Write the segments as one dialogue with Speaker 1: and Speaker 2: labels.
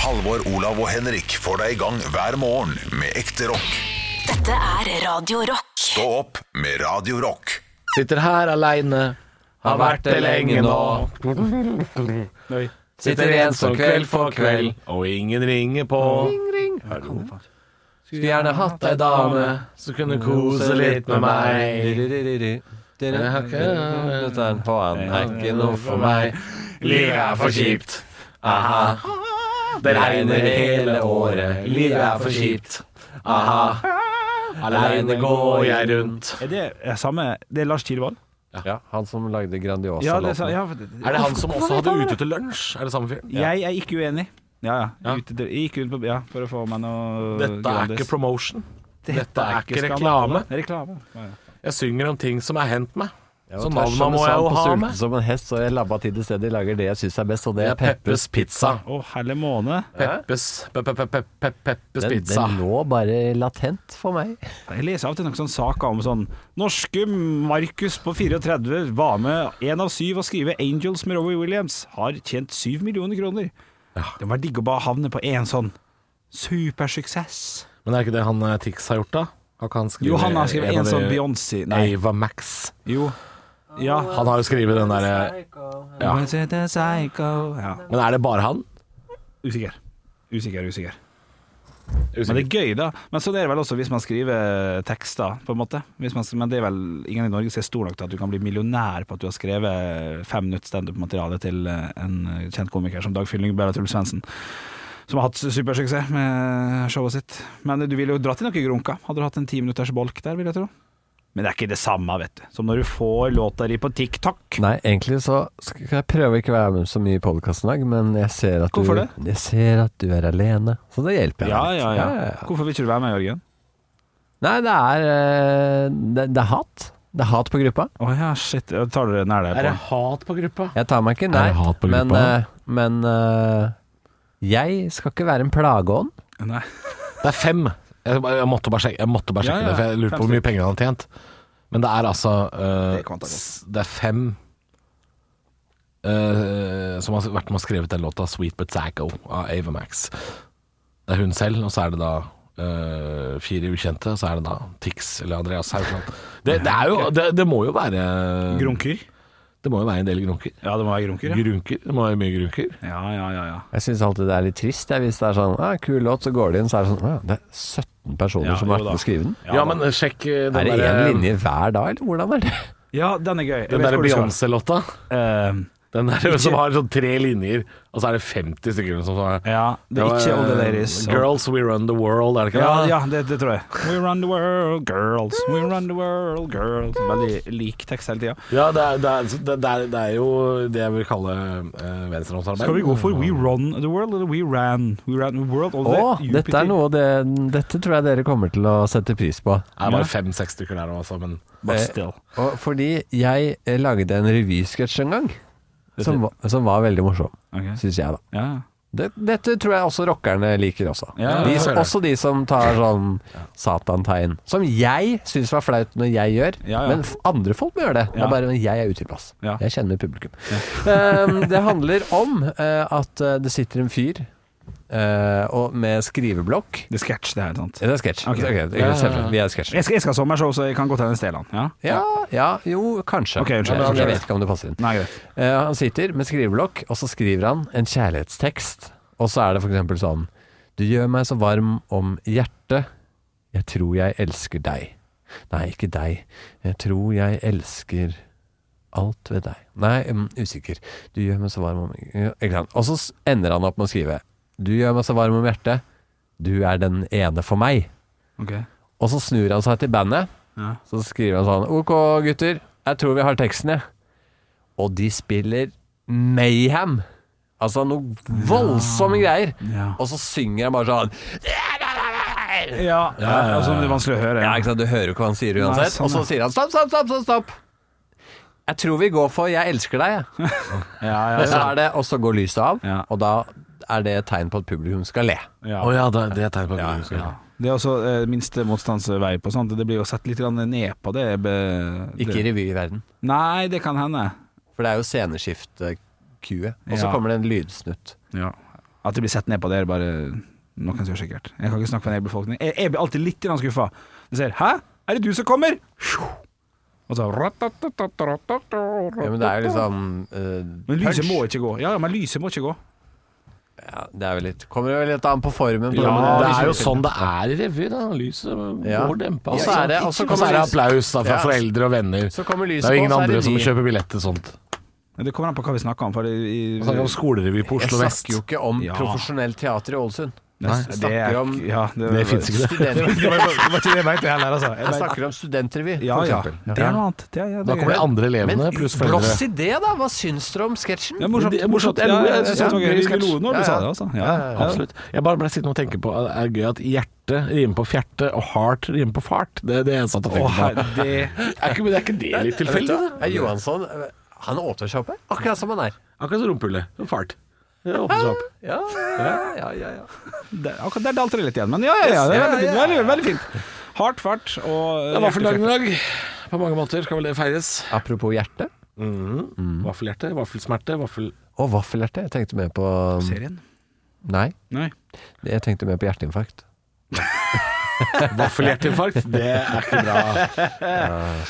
Speaker 1: Halvor, Olav og Henrik får deg i gang hver morgen med ekte rock.
Speaker 2: Dette er Radio Rock.
Speaker 1: Stå opp med Radio Rock.
Speaker 3: Sitter her aleine.
Speaker 4: Har vært det lenge nå. Sitter ensom kveld for kveld, og ingen ringer på. Skulle gjerne hatt ei dame som kunne kose litt med meg. Men jeg har ikke Dette er en faen, er ikke noe for meg. Livet er for kjipt. Aha. Det regner hele året. Livet er for kjipt. Aha. Aleine går jeg rundt.
Speaker 5: Er det er samme Det er Lars Tidvold?
Speaker 4: Ja, han som lagde Grandiosa-låten.
Speaker 5: Ja, det er, sa- ja, for det-
Speaker 3: Er det han som også hadde ute til lunsj? Er det samme fyren?
Speaker 5: Jeg er ikke uenig. Ja, ja.
Speaker 3: Ja.
Speaker 5: Ute, jeg gikk ut på Ja, for å få meg noe
Speaker 3: Dette er
Speaker 5: Grandis.
Speaker 3: ikke promotion. Dette er ikke
Speaker 5: skandale.
Speaker 3: reklame.
Speaker 5: Det er reklame. Ja, ja.
Speaker 3: Jeg synger om ting som er hendt meg.
Speaker 4: Jeg
Speaker 3: Så
Speaker 4: var
Speaker 3: navnet
Speaker 4: tvers som
Speaker 3: må
Speaker 4: en
Speaker 3: jeg jo
Speaker 4: svamp og
Speaker 3: ha
Speaker 4: sulten
Speaker 3: med.
Speaker 4: Som en hest, så jeg labba til det stedet jeg lager det jeg syns er best, og det
Speaker 3: Det
Speaker 4: er
Speaker 3: er Peppes pizza.
Speaker 5: Å, herlig måne.
Speaker 3: Peppes, pe- pe- pe- pe- Peppes
Speaker 4: Den,
Speaker 3: pizza.
Speaker 4: den lå bare latent for meg.
Speaker 5: Jeg leser alltid noen sånne saker om sånn Norske Markus på 34 var med én av syv å skrive 'Angels' med Robbie Williams. Har tjent syv millioner kroner. Det må være digg å bare havne på én sånn supersuksess.
Speaker 3: Men er ikke det han eh, Tix har gjort, da? Har ikke han skrevet
Speaker 5: Jo, han har skrevet en
Speaker 3: av
Speaker 5: sånn
Speaker 3: de-
Speaker 5: Beyoncé Nei,
Speaker 3: Ava Max.
Speaker 5: jo. Ja.
Speaker 3: Han har jo skrevet den derre
Speaker 5: ja. ja.
Speaker 3: Men er det bare han?
Speaker 5: Usikker. Usikker, usikker. Men det er gøy, da. Men sånn er det vel også hvis man skriver tekster, på en måte. Hvis man, men det er vel ingen i Norge som er stor nok til at du kan bli millionær på at du har skrevet fem minutt standup-materiale til eh, en kjent komiker som Dag Fylling Bella Truls Svendsen. Som har hatt supersuksess med showet sitt. Men du ville jo dratt i noe grunka. Hadde du hatt en ti minutters bolk der, vil jeg tro. Men det er ikke det samme, vet du. Som når du får låta di på TikTok.
Speaker 4: Nei, egentlig så skal jeg prøve ikke å være med så mye i podkasten i dag, men jeg ser, at
Speaker 5: Hvorfor
Speaker 4: du,
Speaker 5: det?
Speaker 4: jeg ser at du er alene, så det hjelper jeg
Speaker 5: Ja,
Speaker 4: litt.
Speaker 5: ja, ja. Hvorfor vil ikke du være med, Jørgen?
Speaker 4: Nei, det er eh, det, det er hat. Det er hat på gruppa.
Speaker 5: Å ja, shit. Tar du det nær deg
Speaker 3: Er det
Speaker 5: på?
Speaker 3: hat på gruppa?
Speaker 4: Jeg tar meg ikke,
Speaker 3: Er
Speaker 4: nei.
Speaker 3: det hat på
Speaker 4: men
Speaker 3: gruppa?
Speaker 4: eh, men eh, jeg skal ikke være en plageånd.
Speaker 5: Nei.
Speaker 3: Det er fem. Jeg, jeg måtte bare sjekke, jeg måtte bare
Speaker 5: Ja,
Speaker 3: sjekke
Speaker 5: ja,
Speaker 3: det, for jeg lurte på hvor mye penger han har tjent. Men det er altså eh,
Speaker 5: Det kan ta godt.
Speaker 3: s- det er fem eh, som har vært med og skrevet den låta 'Sweet But Psycho' av Ava Max. Det er hun selv, og så er det da eh, fire ukjente, og så er det da Tix eller Andreas Haugland. Det, det, er jo, det, det må jo være
Speaker 5: Grunker?
Speaker 3: Det må jo være en del grunker.
Speaker 5: Ja, det må være grunker, ja.
Speaker 3: Grunker, Det må være mye grunker.
Speaker 5: Ja, ja, ja, ja.
Speaker 4: Jeg syns alltid det er litt trist jeg, hvis det er sånn ah, 'kul låt', så går det inn, så er det sånn ah, Det er 17 personer
Speaker 5: Ja,
Speaker 4: som har
Speaker 5: jo
Speaker 4: vært
Speaker 5: da.
Speaker 4: med å skrive den.
Speaker 3: Ja, men sjekk eh, den
Speaker 4: Er det
Speaker 3: der-
Speaker 4: én linje hver dag, eller hvordan er det?
Speaker 5: Ja, den er gøy. Jeg
Speaker 3: Den
Speaker 5: vet
Speaker 3: der
Speaker 5: hvor du skal.
Speaker 3: Beyoncé-låta.
Speaker 5: Eh,
Speaker 3: Den der som har sånn tre linjer, og så er det 50 stykker som sånn
Speaker 5: ja, det er ikke All
Speaker 4: eh,
Speaker 5: the Ladies.
Speaker 3: Girls We Run The World, er det ikke
Speaker 5: Ja,
Speaker 3: det?
Speaker 5: ja det, det tror jeg. We run the world, girls. We run the world, girls. Veldig lik tekst hele tida.
Speaker 3: Ja, det, er, det, er, det, er, det er jo det jeg vil kalle eh, venstrehåndsarbeid.
Speaker 5: Skal vi gå for We run the world, eller We ran? We ran the world all
Speaker 4: Å,
Speaker 5: day.
Speaker 4: dette er noe det, Dette tror jeg dere kommer til å sette pris på. Eh,
Speaker 3: Det er bare fem-seks stykker der også, men
Speaker 5: But still.
Speaker 4: Og fordi jeg eh, lagde en revysketsj en gang, som, var- som var veldig morsom,
Speaker 5: Ok.
Speaker 4: syns jeg, da.
Speaker 5: Ja.
Speaker 4: Det, dette tror jeg også rockerne liker også.
Speaker 5: Ja,
Speaker 4: de,
Speaker 3: det ser jeg.
Speaker 4: også de som tar sånn satantegn. Som jeg syns var flaut når jeg gjør,
Speaker 5: Ja, ja.
Speaker 4: men f- andre folk må gjøre det. Det
Speaker 5: Ja.
Speaker 4: er bare når jeg er utilpass.
Speaker 5: Ja.
Speaker 4: Jeg kjenner mitt publikum. Ehm, det handler om eh, at eh, det sitter en fyr eh, og med skriveblokk
Speaker 5: Det er sketsj, det her. sant?
Speaker 4: Ja, Det er sketsj.
Speaker 5: Ok.
Speaker 4: Ok, det kan jeg se for meg. Vi er sketsj.
Speaker 5: Jeg skal, jeg skal ha sommershow, så jeg kan gå til en Steland. Ja?
Speaker 4: Ja, ja, jo, kanskje.
Speaker 5: Ok, unnskyld.
Speaker 4: Men
Speaker 5: Unnskyld.
Speaker 4: jeg vet ikke om det passer inn.
Speaker 5: Nei, greit.
Speaker 4: Eh, han sitter med skriveblokk, og så skriver han en kjærlighetstekst. Og så er det for eksempel sånn Du gjør meg så varm om hjertet. Jeg tror jeg elsker deg. Nei, ikke deg. Jeg tror jeg elsker alt ved deg. Nei, mm, usikker. Du gjør meg så varm om Ja, Ikke sant. Og så s- ender han opp med å skrive Du gjør meg så varm om hjertet. Du er den ene for meg.
Speaker 5: Ok.
Speaker 4: Og så snur han seg til bandet.
Speaker 5: Ja.
Speaker 4: Så skriver han sånn Ok, gutter, jeg tror vi har teksten, jeg. Og de spiller Mayhem. Altså noe voldsomme greier.
Speaker 5: Ja.
Speaker 4: Og så synger han bare sånn
Speaker 5: Ja, ja, altså, det er vanskelig å høre.
Speaker 4: Ja, ikke sant, Du hører jo ikke hva han sier uansett.
Speaker 5: sånn,
Speaker 4: og så
Speaker 5: ja.
Speaker 4: sier han stopp, stopp, stopp, stopp, stopp. Jeg tror vi går for 'jeg elsker deg', jeg.
Speaker 5: Ja, ja,
Speaker 4: Og så, er det, og så går lyset av,
Speaker 5: Ja.
Speaker 4: og da er det et tegn på at publikum skal le.
Speaker 5: ja.
Speaker 3: Å ja, det, det er tegn på at vi skal
Speaker 5: Det er også eh, minste motstandsvei på sånt. Det blir jo sett litt grann ned på det. Be,
Speaker 4: Ikke i
Speaker 5: det.
Speaker 4: revy i verden.
Speaker 5: Nei, det kan hende.
Speaker 4: For det er jo sceneskift-kue. Og så
Speaker 5: Ja.
Speaker 4: kommer det en lydsnutt.
Speaker 5: Ja. At det blir sett ned på, det er bare noen som gjør sikkert. Jeg kan ikke snakke for en hel befolkning. Jeg, jeg blir alltid litt grann skuffa. Jeg ser 'hæ, er det du som kommer?' Sjo. Og så
Speaker 4: Ja,
Speaker 5: Men
Speaker 4: men det er jo liksom eh,
Speaker 5: lyset
Speaker 4: punch.
Speaker 5: må ikke gå. Ja, men lyset må ikke gå.
Speaker 4: ja, Det er vel litt Kommer jo litt an på formen. På
Speaker 3: Ja,
Speaker 4: men
Speaker 3: det er jo sånn det er i revy. da. Lyset
Speaker 4: Ja.
Speaker 3: går dempa.
Speaker 4: Og så er det- og så
Speaker 3: og så er det applaus da, fra
Speaker 4: Ja.
Speaker 3: foreldre og venner.
Speaker 4: Så kommer
Speaker 3: Det
Speaker 4: lyset
Speaker 3: er jo ingen
Speaker 4: på, så er
Speaker 3: andre
Speaker 4: det
Speaker 3: som
Speaker 4: de.
Speaker 3: kjøper billett til sånt.
Speaker 5: Men Det kommer an på hva vi snakker om. For i, i,
Speaker 3: Vi snakker om skolerevy på
Speaker 4: Jeg
Speaker 3: Oslo vest.
Speaker 4: snakker jo ikke om
Speaker 5: Ja.
Speaker 4: profesjonelt teater i Ålesund.
Speaker 5: Nei,
Speaker 4: Jeg
Speaker 5: det
Speaker 4: snakker
Speaker 5: er-
Speaker 4: om
Speaker 5: ja,
Speaker 3: Det fins ikke, det.
Speaker 4: studenter.
Speaker 5: Det var det var ikke det jeg mente heller, altså. Jeg
Speaker 4: Jeg
Speaker 5: mente-
Speaker 4: snakker om studentrevy,
Speaker 5: ja,
Speaker 4: for
Speaker 5: ja.
Speaker 4: eksempel.
Speaker 5: Det er noe annet. Det er, ja, det
Speaker 3: Da
Speaker 5: er
Speaker 3: kommer de
Speaker 5: greit.
Speaker 3: andre elevene
Speaker 4: Men
Speaker 3: pluss
Speaker 4: blås
Speaker 3: foreldre.
Speaker 4: i det, da! Hva syns dere om sketsjen?
Speaker 5: Det er morsomt.
Speaker 3: Det er morsomt.
Speaker 5: Ja,
Speaker 3: Jeg- jeg-
Speaker 5: jeg synes det var
Speaker 3: ja,
Speaker 5: gøy.
Speaker 3: gøy
Speaker 5: Vi lo
Speaker 3: sketsj.
Speaker 5: når
Speaker 4: Ja,
Speaker 5: du sa
Speaker 4: ja.
Speaker 5: det, altså. Ja,
Speaker 4: Ja,
Speaker 5: ja.
Speaker 3: Absolutt. Jeg bare ble sittende og tenke på at det er gøy at hjerte rimer på fjerte, og heart rimer på fart. Det er det jeg satt og
Speaker 5: Å,
Speaker 3: tenkte på.
Speaker 5: her- det
Speaker 3: Er ikke, men er ikke det litt tilfeldig? da?
Speaker 4: Er Johansson eh, Han åpner seg opp her, akkurat som han er.
Speaker 3: Akkurat som rumpehullet. som Fart. Det åpner seg opp.
Speaker 4: Ja, ja, ja, ja, ja.
Speaker 5: Der, akkurat der dalte det litt igjen, men ja, ja, ja det er
Speaker 4: Ja,
Speaker 5: veldig fint.
Speaker 4: ja.
Speaker 5: Veldig, veldig fint. Hardt, fart og
Speaker 3: Det er vaffeldagen i dag. På mange måter skal vel det feires.
Speaker 4: Apropos hjerte.
Speaker 3: Vaffelhjerte, vaffelsmerte, vaffel...
Speaker 4: Og vaffelhjerte. Jeg tenkte mer på
Speaker 5: Serien?
Speaker 4: Nei,
Speaker 5: Nei.
Speaker 4: jeg tenkte mer på hjerteinfarkt.
Speaker 3: Vaffelhjerteinfarkt. Det er ikke bra.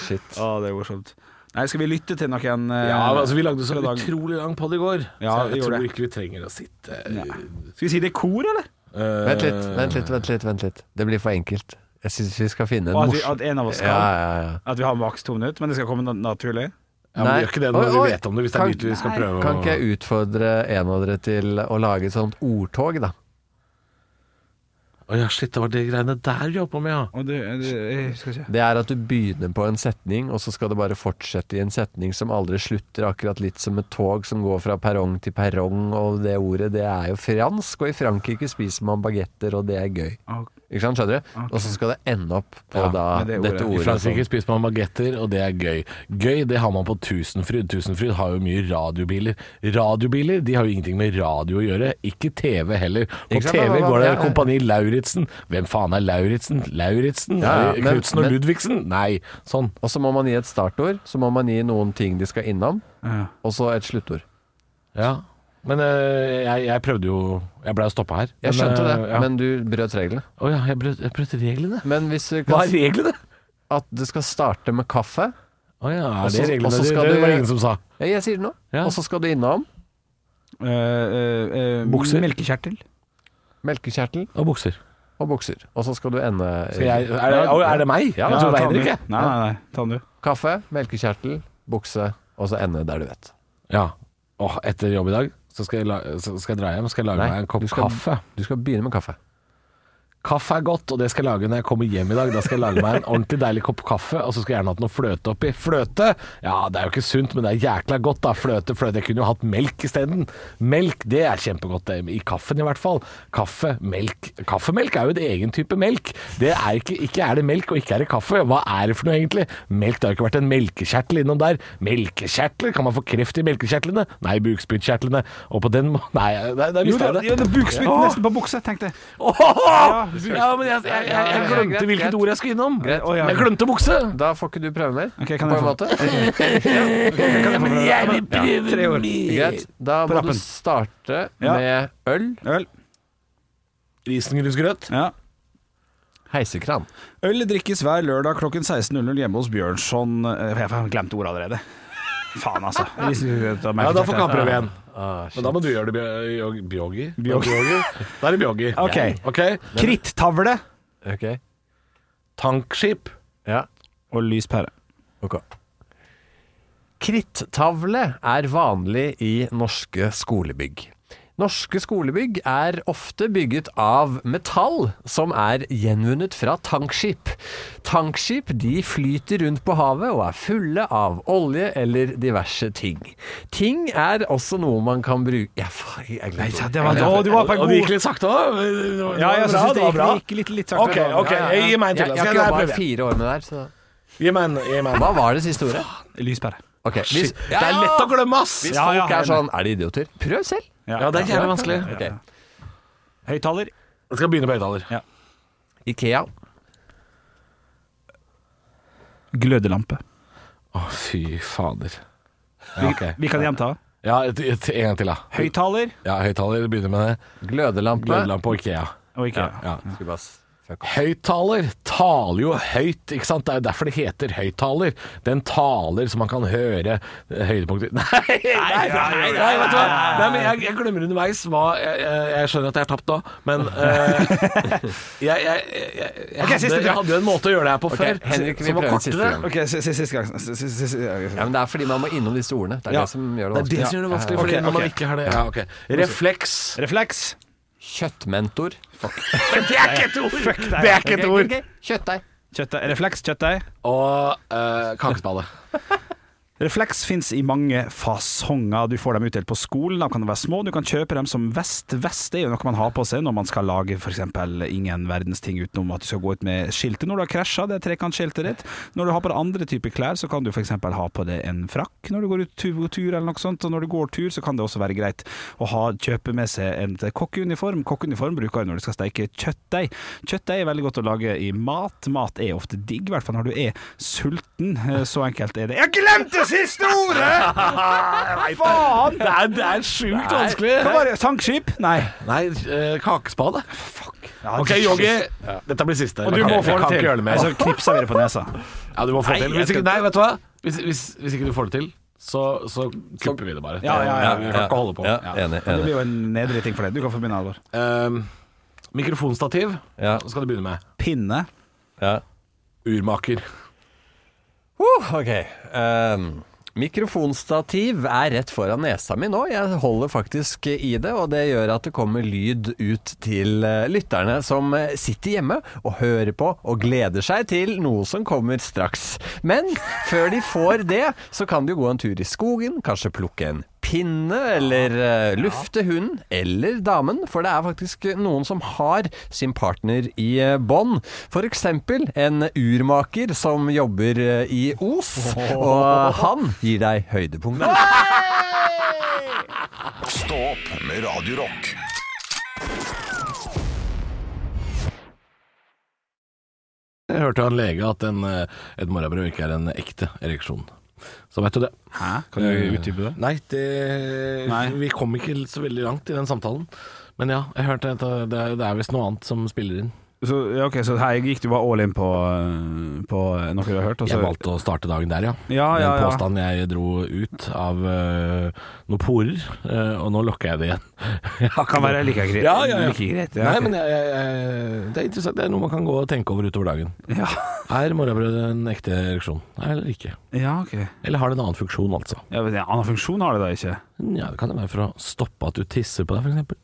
Speaker 4: Shit.
Speaker 5: Å, det er morsomt. Nei, skal vi lytte til noen eh,
Speaker 3: Ja, men altså Vi lagde så
Speaker 5: fra dag-
Speaker 3: utrolig lang podd i går, så
Speaker 5: Ja, vi
Speaker 3: jeg
Speaker 5: gjorde
Speaker 3: tror
Speaker 5: det.
Speaker 3: ikke vi trenger å sitte uh,
Speaker 5: Skal vi si det er kor, eller?
Speaker 4: Vent litt,
Speaker 3: Eh.
Speaker 4: vent litt, vent litt. vent litt Det blir for enkelt. Jeg syns vi skal finne en
Speaker 5: Og at, vi,
Speaker 4: morsom
Speaker 5: at en av oss skal.
Speaker 4: Ja, ja, ja.
Speaker 5: At vi har maks to minutter, men det skal komme na- naturlig.
Speaker 3: Ja, men
Speaker 4: Nei.
Speaker 3: vi gjør ikke det når
Speaker 4: Oi, oi.
Speaker 3: vi vet om det, hvis det er
Speaker 4: Kan-
Speaker 3: nytt vi skal
Speaker 5: Nei.
Speaker 3: prøve å
Speaker 4: Kan ikke jeg utfordre en av dere til å lage et sånt ordtog, da?
Speaker 3: Å ja, shit, det var det greiene der vi holdt på med, ja.
Speaker 5: Og det, det, eh, jeg skal ikke
Speaker 4: Det er at du begynner på en setning, og så skal det bare fortsette i en setning som aldri slutter, akkurat litt som et tog som går fra perrong til perrong, og det ordet, det er jo fransk, og i Frankrike spiser man bagetter, og det er gøy.
Speaker 5: Å,
Speaker 4: Ikke sant, skjønner du?
Speaker 5: Ok.
Speaker 4: Og så skal det ende opp på
Speaker 3: Ja,
Speaker 4: da,
Speaker 5: med det ordet.
Speaker 3: I
Speaker 4: dette ordet.
Speaker 3: Frankrike spiser man bagetter, og det er gøy. Gøy, det har man på Tusenfryd. Tusenfryd har jo mye radiobiler. Radiobiler de har jo ingenting med radio å gjøre, ikke TV heller. På
Speaker 4: Ikke sant,
Speaker 3: TV
Speaker 4: hva- hva-
Speaker 3: går det
Speaker 4: ja, ja.
Speaker 3: Kompani Lauritzen. Hvem faen er Lauritzen? Lauritzen?
Speaker 4: Ja, ja,
Speaker 3: Er det
Speaker 4: men-
Speaker 3: Knutsen og
Speaker 4: men-
Speaker 3: Ludvigsen? Nei, sånn.
Speaker 4: Og så må man gi et startord, så må man gi noen ting de skal innom,
Speaker 5: ja.
Speaker 4: og så et sluttord.
Speaker 3: Ja. Men øh, jeg, jeg prøvde jo Jeg blei jo stoppa her.
Speaker 4: Jeg
Speaker 3: Men,
Speaker 4: skjønte det,
Speaker 3: øh, ja.
Speaker 4: men du brøt reglene.
Speaker 3: Å ja, jeg brøt, jeg brøt reglene.
Speaker 4: Men hvis du
Speaker 3: Hva
Speaker 4: kan
Speaker 3: er
Speaker 4: si
Speaker 3: reglene?
Speaker 4: at du skal starte med kaffe,
Speaker 3: Å ja,
Speaker 4: Og
Speaker 3: er det
Speaker 4: så- og
Speaker 3: reglene?
Speaker 4: så
Speaker 3: Det,
Speaker 4: skal
Speaker 3: det
Speaker 4: du-
Speaker 3: var ingen som sa.
Speaker 4: ja, jeg sier det nå,
Speaker 3: Ja.
Speaker 4: og så skal du innom
Speaker 5: Eh, eh, eh,
Speaker 3: Bukser.
Speaker 5: Melkekjertel.
Speaker 4: melkekjertel
Speaker 3: Og bukser.
Speaker 4: og bukser, og så skal du ende
Speaker 3: Skal jeg, er, det, å, er det meg?
Speaker 4: Ja,
Speaker 3: jeg tror
Speaker 5: ta den
Speaker 3: Veidrik,
Speaker 5: du.
Speaker 3: jeg.
Speaker 5: Nei, nei, nei. Ta den du.
Speaker 4: Kaffe, melkekjertel, bukse, og så ende der du vet.
Speaker 3: Ja. Åh, etter jobb i dag så skal jeg, la- så skal jeg dra hjem skal jeg lage
Speaker 4: Nei,
Speaker 3: meg en kopp
Speaker 4: du skal-
Speaker 3: kaffe.
Speaker 4: Du skal begynne med kaffe.
Speaker 3: Kaffe er godt, og det skal jeg lage når jeg kommer hjem i dag. Da skal jeg lage meg en ordentlig deilig kopp kaffe, og så skal jeg gjerne hatt noe fløte oppi. Fløte? Ja, det er jo ikke sunt, men det er jækla godt, da. Fløte, fløte. Jeg kunne jo hatt melk isteden. Melk, det er kjempegodt, det. I kaffen i hvert fall. Kaffe, melk. Kaffemelk er jo en egen type melk. Det er ikke, ikke er det melk, og ikke er det kaffe. Hva er det for noe, egentlig? Melk, det har jo ikke vært en melkekjertel innom der. Melkekjertler? Kan man få kreft i melkekjertlene? Nei, bukspyttkjertlene. Og på den må... Nei, der, der
Speaker 5: Jo,
Speaker 3: mista
Speaker 5: det,
Speaker 3: jeg det.
Speaker 5: jo, det er bukspytt
Speaker 3: Ja.
Speaker 5: nesten på buksa, tenkte jeg.
Speaker 3: Åh! Ja, men jeg, jeg, jeg, jeg glemte hvilket ord jeg skulle innom.
Speaker 5: Å, ja.
Speaker 3: Jeg glemte bukse.
Speaker 4: Da får ikke du prøve mer,
Speaker 5: Ok, kan
Speaker 4: på
Speaker 5: jeg
Speaker 4: en
Speaker 5: få-
Speaker 4: måte.
Speaker 3: Men jeg vil
Speaker 5: Tre
Speaker 3: prøve
Speaker 5: år.
Speaker 4: Greit. Da
Speaker 5: På
Speaker 4: må
Speaker 5: rappen.
Speaker 4: du starte
Speaker 5: Ja.
Speaker 4: med øl,
Speaker 5: Øl.
Speaker 3: Risengrynsgrøt.
Speaker 5: Ja.
Speaker 4: heisekran.
Speaker 5: Øl drikkes hver lørdag klokken 16.00 hjemme hos Bjørnson Eh, Jeg har glemt ordet allerede. Faen, altså.
Speaker 3: Ja,
Speaker 5: Ja,
Speaker 3: da får Kamprøv igjen. Men da må du gjøre det Bjo- Bjogi.
Speaker 5: Bjogi.
Speaker 3: Da er det Bjogi.
Speaker 5: Ok.
Speaker 3: ok.
Speaker 5: Krittavle
Speaker 4: Ok.
Speaker 3: Tankskip.
Speaker 4: Ja.
Speaker 5: og lyspære.
Speaker 4: Ok. Krittavle er vanlig i norske skolebygg. Norske skolebygg er ofte bygget av metall som er gjenvunnet fra tankskip. Tankskip de flyter rundt på havet og er fulle av olje eller diverse ting. Ting er også noe man kan bruke Ja, faen, jeg glemte ordet.
Speaker 5: det var, å, du var på en
Speaker 3: Og
Speaker 5: god
Speaker 3: det gikk litt sakte òg.
Speaker 5: Ja, jeg synes det gikk, det gikk litt, litt sakte.
Speaker 3: Ok, ok. Jeg gir meg en til.
Speaker 4: Jeg, jeg
Speaker 3: Skal jeg
Speaker 4: har ikke
Speaker 3: prøve
Speaker 4: jobba
Speaker 3: igjen?
Speaker 4: fire år med det her, så
Speaker 3: Gi meg en. Gi meg en.
Speaker 4: Hva var det siste ordet?
Speaker 5: Lyspære.
Speaker 4: Ok, hvis-
Speaker 3: Shit, Det er lett å glemme, ass.
Speaker 4: Hvis
Speaker 5: Ja, ja,
Speaker 4: folk er
Speaker 5: jeg er
Speaker 4: sånn Er de idioter? Prøv selv.
Speaker 3: Ja, det er jævlig vanskelig.
Speaker 4: Ok.
Speaker 5: Høyttaler.
Speaker 3: Jeg skal begynne på høyttaler.
Speaker 4: Ikea.
Speaker 5: Glødelampe.
Speaker 3: Å, fy fader.
Speaker 5: Vi kan gjenta.
Speaker 3: Ja, et, et, en gang til, da.
Speaker 5: Høyttaler
Speaker 3: Ja, høyttaler begynner med det.
Speaker 4: Glødelampe.
Speaker 3: Glødelampe og IKEA.
Speaker 5: og ikke
Speaker 3: Ja, ja.
Speaker 4: Skulle bare s- fuck off.
Speaker 3: Høyttaler taler jo høyt, ikke sant? Det er jo derfor det heter høyttaler. Den taler så man kan høre eh, høydepunkter Nei, nei, nei, nei, nei vet du hva? Nei, men jeg, jeg glemmer underveis hva jeg, jeg, jeg skjønner at jeg har tapt da, men eh, jeg, jeg, jeg, jeg,
Speaker 5: Ok,
Speaker 3: hadde,
Speaker 5: siste
Speaker 3: jeg hadde jo en måte å gjøre det her på
Speaker 4: Ok,
Speaker 3: før,
Speaker 4: Henrik, vi
Speaker 3: som var
Speaker 4: prøver siste
Speaker 3: kortere.
Speaker 4: gang.
Speaker 5: Ok, s- s- siste gang. S- s- s-
Speaker 4: Ja,
Speaker 5: s-
Speaker 4: men det er fordi man må innom disse ordene. Det er
Speaker 5: Ja.
Speaker 4: det som gjør det
Speaker 3: Det er
Speaker 4: vanskelig.
Speaker 3: det som gjør det vanskelig,
Speaker 5: Ja, ja,
Speaker 3: fordi
Speaker 5: ja.
Speaker 3: når man
Speaker 5: Ok, ok.
Speaker 3: ikke har det ja, ok. Refleks.
Speaker 5: Refleks.
Speaker 4: Kjøttmentor.
Speaker 3: Det er ikke et ord! Det er ikke et ord!
Speaker 4: Kjøttdeig.
Speaker 5: Kjøttdeig. Refleks, kjøttdeig.
Speaker 3: Og uh, kakespade.
Speaker 5: Refleks fins i mange fasonger. Du får dem utdelt på skolen, de kan være små. Du kan kjøpe dem som vest. Vest er jo noe man har på seg når man skal lage f.eks. ingen verdens ting utenom at du skal gå ut med skiltet når du har krasja, det er trekantskiltet ditt. Når du har på deg andre typer klær, så kan du f.eks. ha på deg en frakk når du går ut tu- tur eller noe sånt. Og når du går tur, så kan det også være greit å ha, kjøpe med seg en kokkeuniform. Kokkeuniform bruker du når du skal steike kjøttdeig. Kjøttdeig er veldig godt å lage i mat. Mat er ofte digg, i hvert fall når du er sulten. Eh, Så enkelt er det. Jeg glemte det siste ordet! Faen!
Speaker 3: Det er, det er sjukt vanskelig.
Speaker 5: Hva var det? Tankskip? Nei.
Speaker 3: Nei, eh, kakespade.
Speaker 5: Ja,
Speaker 3: Ok, Yogi. Dette blir siste.
Speaker 5: Og du må få
Speaker 3: Jeg kan
Speaker 5: det
Speaker 3: ikke
Speaker 5: til.
Speaker 3: gjøre det mer.
Speaker 5: Og så knipser vi det på nesa.
Speaker 3: Ja, du må få det
Speaker 5: Nei,
Speaker 3: til.
Speaker 5: jeg
Speaker 3: Hvis
Speaker 5: skal-
Speaker 3: ikke, nei, vet du hva? Hvis, hvis, hvis ikke du får det til, så, så klipper vi det bare.
Speaker 5: Ja, ja, ja,
Speaker 3: Vi kan ikke holde på.
Speaker 4: Ja, enig.
Speaker 5: Det
Speaker 4: enig.
Speaker 5: blir jo en nedrig ting for deg. Du kan få begynne, Alvor.
Speaker 3: Ehm, mikrofonstativ
Speaker 4: Ja,
Speaker 3: Hva skal du begynne med.
Speaker 5: Pinne.
Speaker 4: ja.
Speaker 3: Urmaker.
Speaker 4: Uh, ok. Ehm, mikrofonstativ er rett foran nesa mi nå. Jeg holder faktisk i det, og det gjør at det kommer lyd ut til eh, lytterne som eh, sitter hjemme og hører på og gleder seg til noe som kommer straks. Men før de får det, så kan de jo gå en tur i skogen, kanskje plukke en pinne eller eh, lufte hunden eller damen, for det er faktisk noen som har sin partner i eh, bånd. For eksempel en urmaker som jobber eh, i Os, og han gir deg høydepunkter.
Speaker 1: Stå opp med Radio Rock.
Speaker 3: Jeg hørte av en lege at en, eh, et morrabrød ikke er en ekte ereksjon. Så vet du det.
Speaker 5: Hæ? Eh, Kan du utdype det?
Speaker 3: Nei, det
Speaker 5: Nei.
Speaker 3: Vi kom ikke så veldig langt i den samtalen. Men ja, jeg hørte at det er, det er visst noe annet som spiller inn.
Speaker 5: Så, ja, ok, så her gikk du bare all in på, eh, på noe du har hørt? og så-
Speaker 3: Jeg valgte å starte dagen der, Ah, ja.
Speaker 5: Ja, ja,
Speaker 3: Den
Speaker 5: ja.
Speaker 3: påstanden jeg dro ut av eh, noen porer, eh, og nå lukker jeg det igjen. Jeg har ikke
Speaker 5: Kan
Speaker 3: noe-
Speaker 5: være like greit.
Speaker 3: Ja, ja, ja.
Speaker 5: Like greit, ja,
Speaker 3: Nei,
Speaker 5: ok.
Speaker 3: men jeg, jeg, jeg, det er interessant. Det er noe man kan gå og tenke over utover dagen.
Speaker 5: Ja,
Speaker 3: Er morrabrød en ekte ereksjon? Nei, Eller ikke?
Speaker 5: ja ok.
Speaker 3: Eller har det en annen funksjon, altså?
Speaker 5: Ja, men en annen funksjon har det da ikke?
Speaker 3: Nja, det kan jo være for å stoppe at du tisser på deg, for eksempel.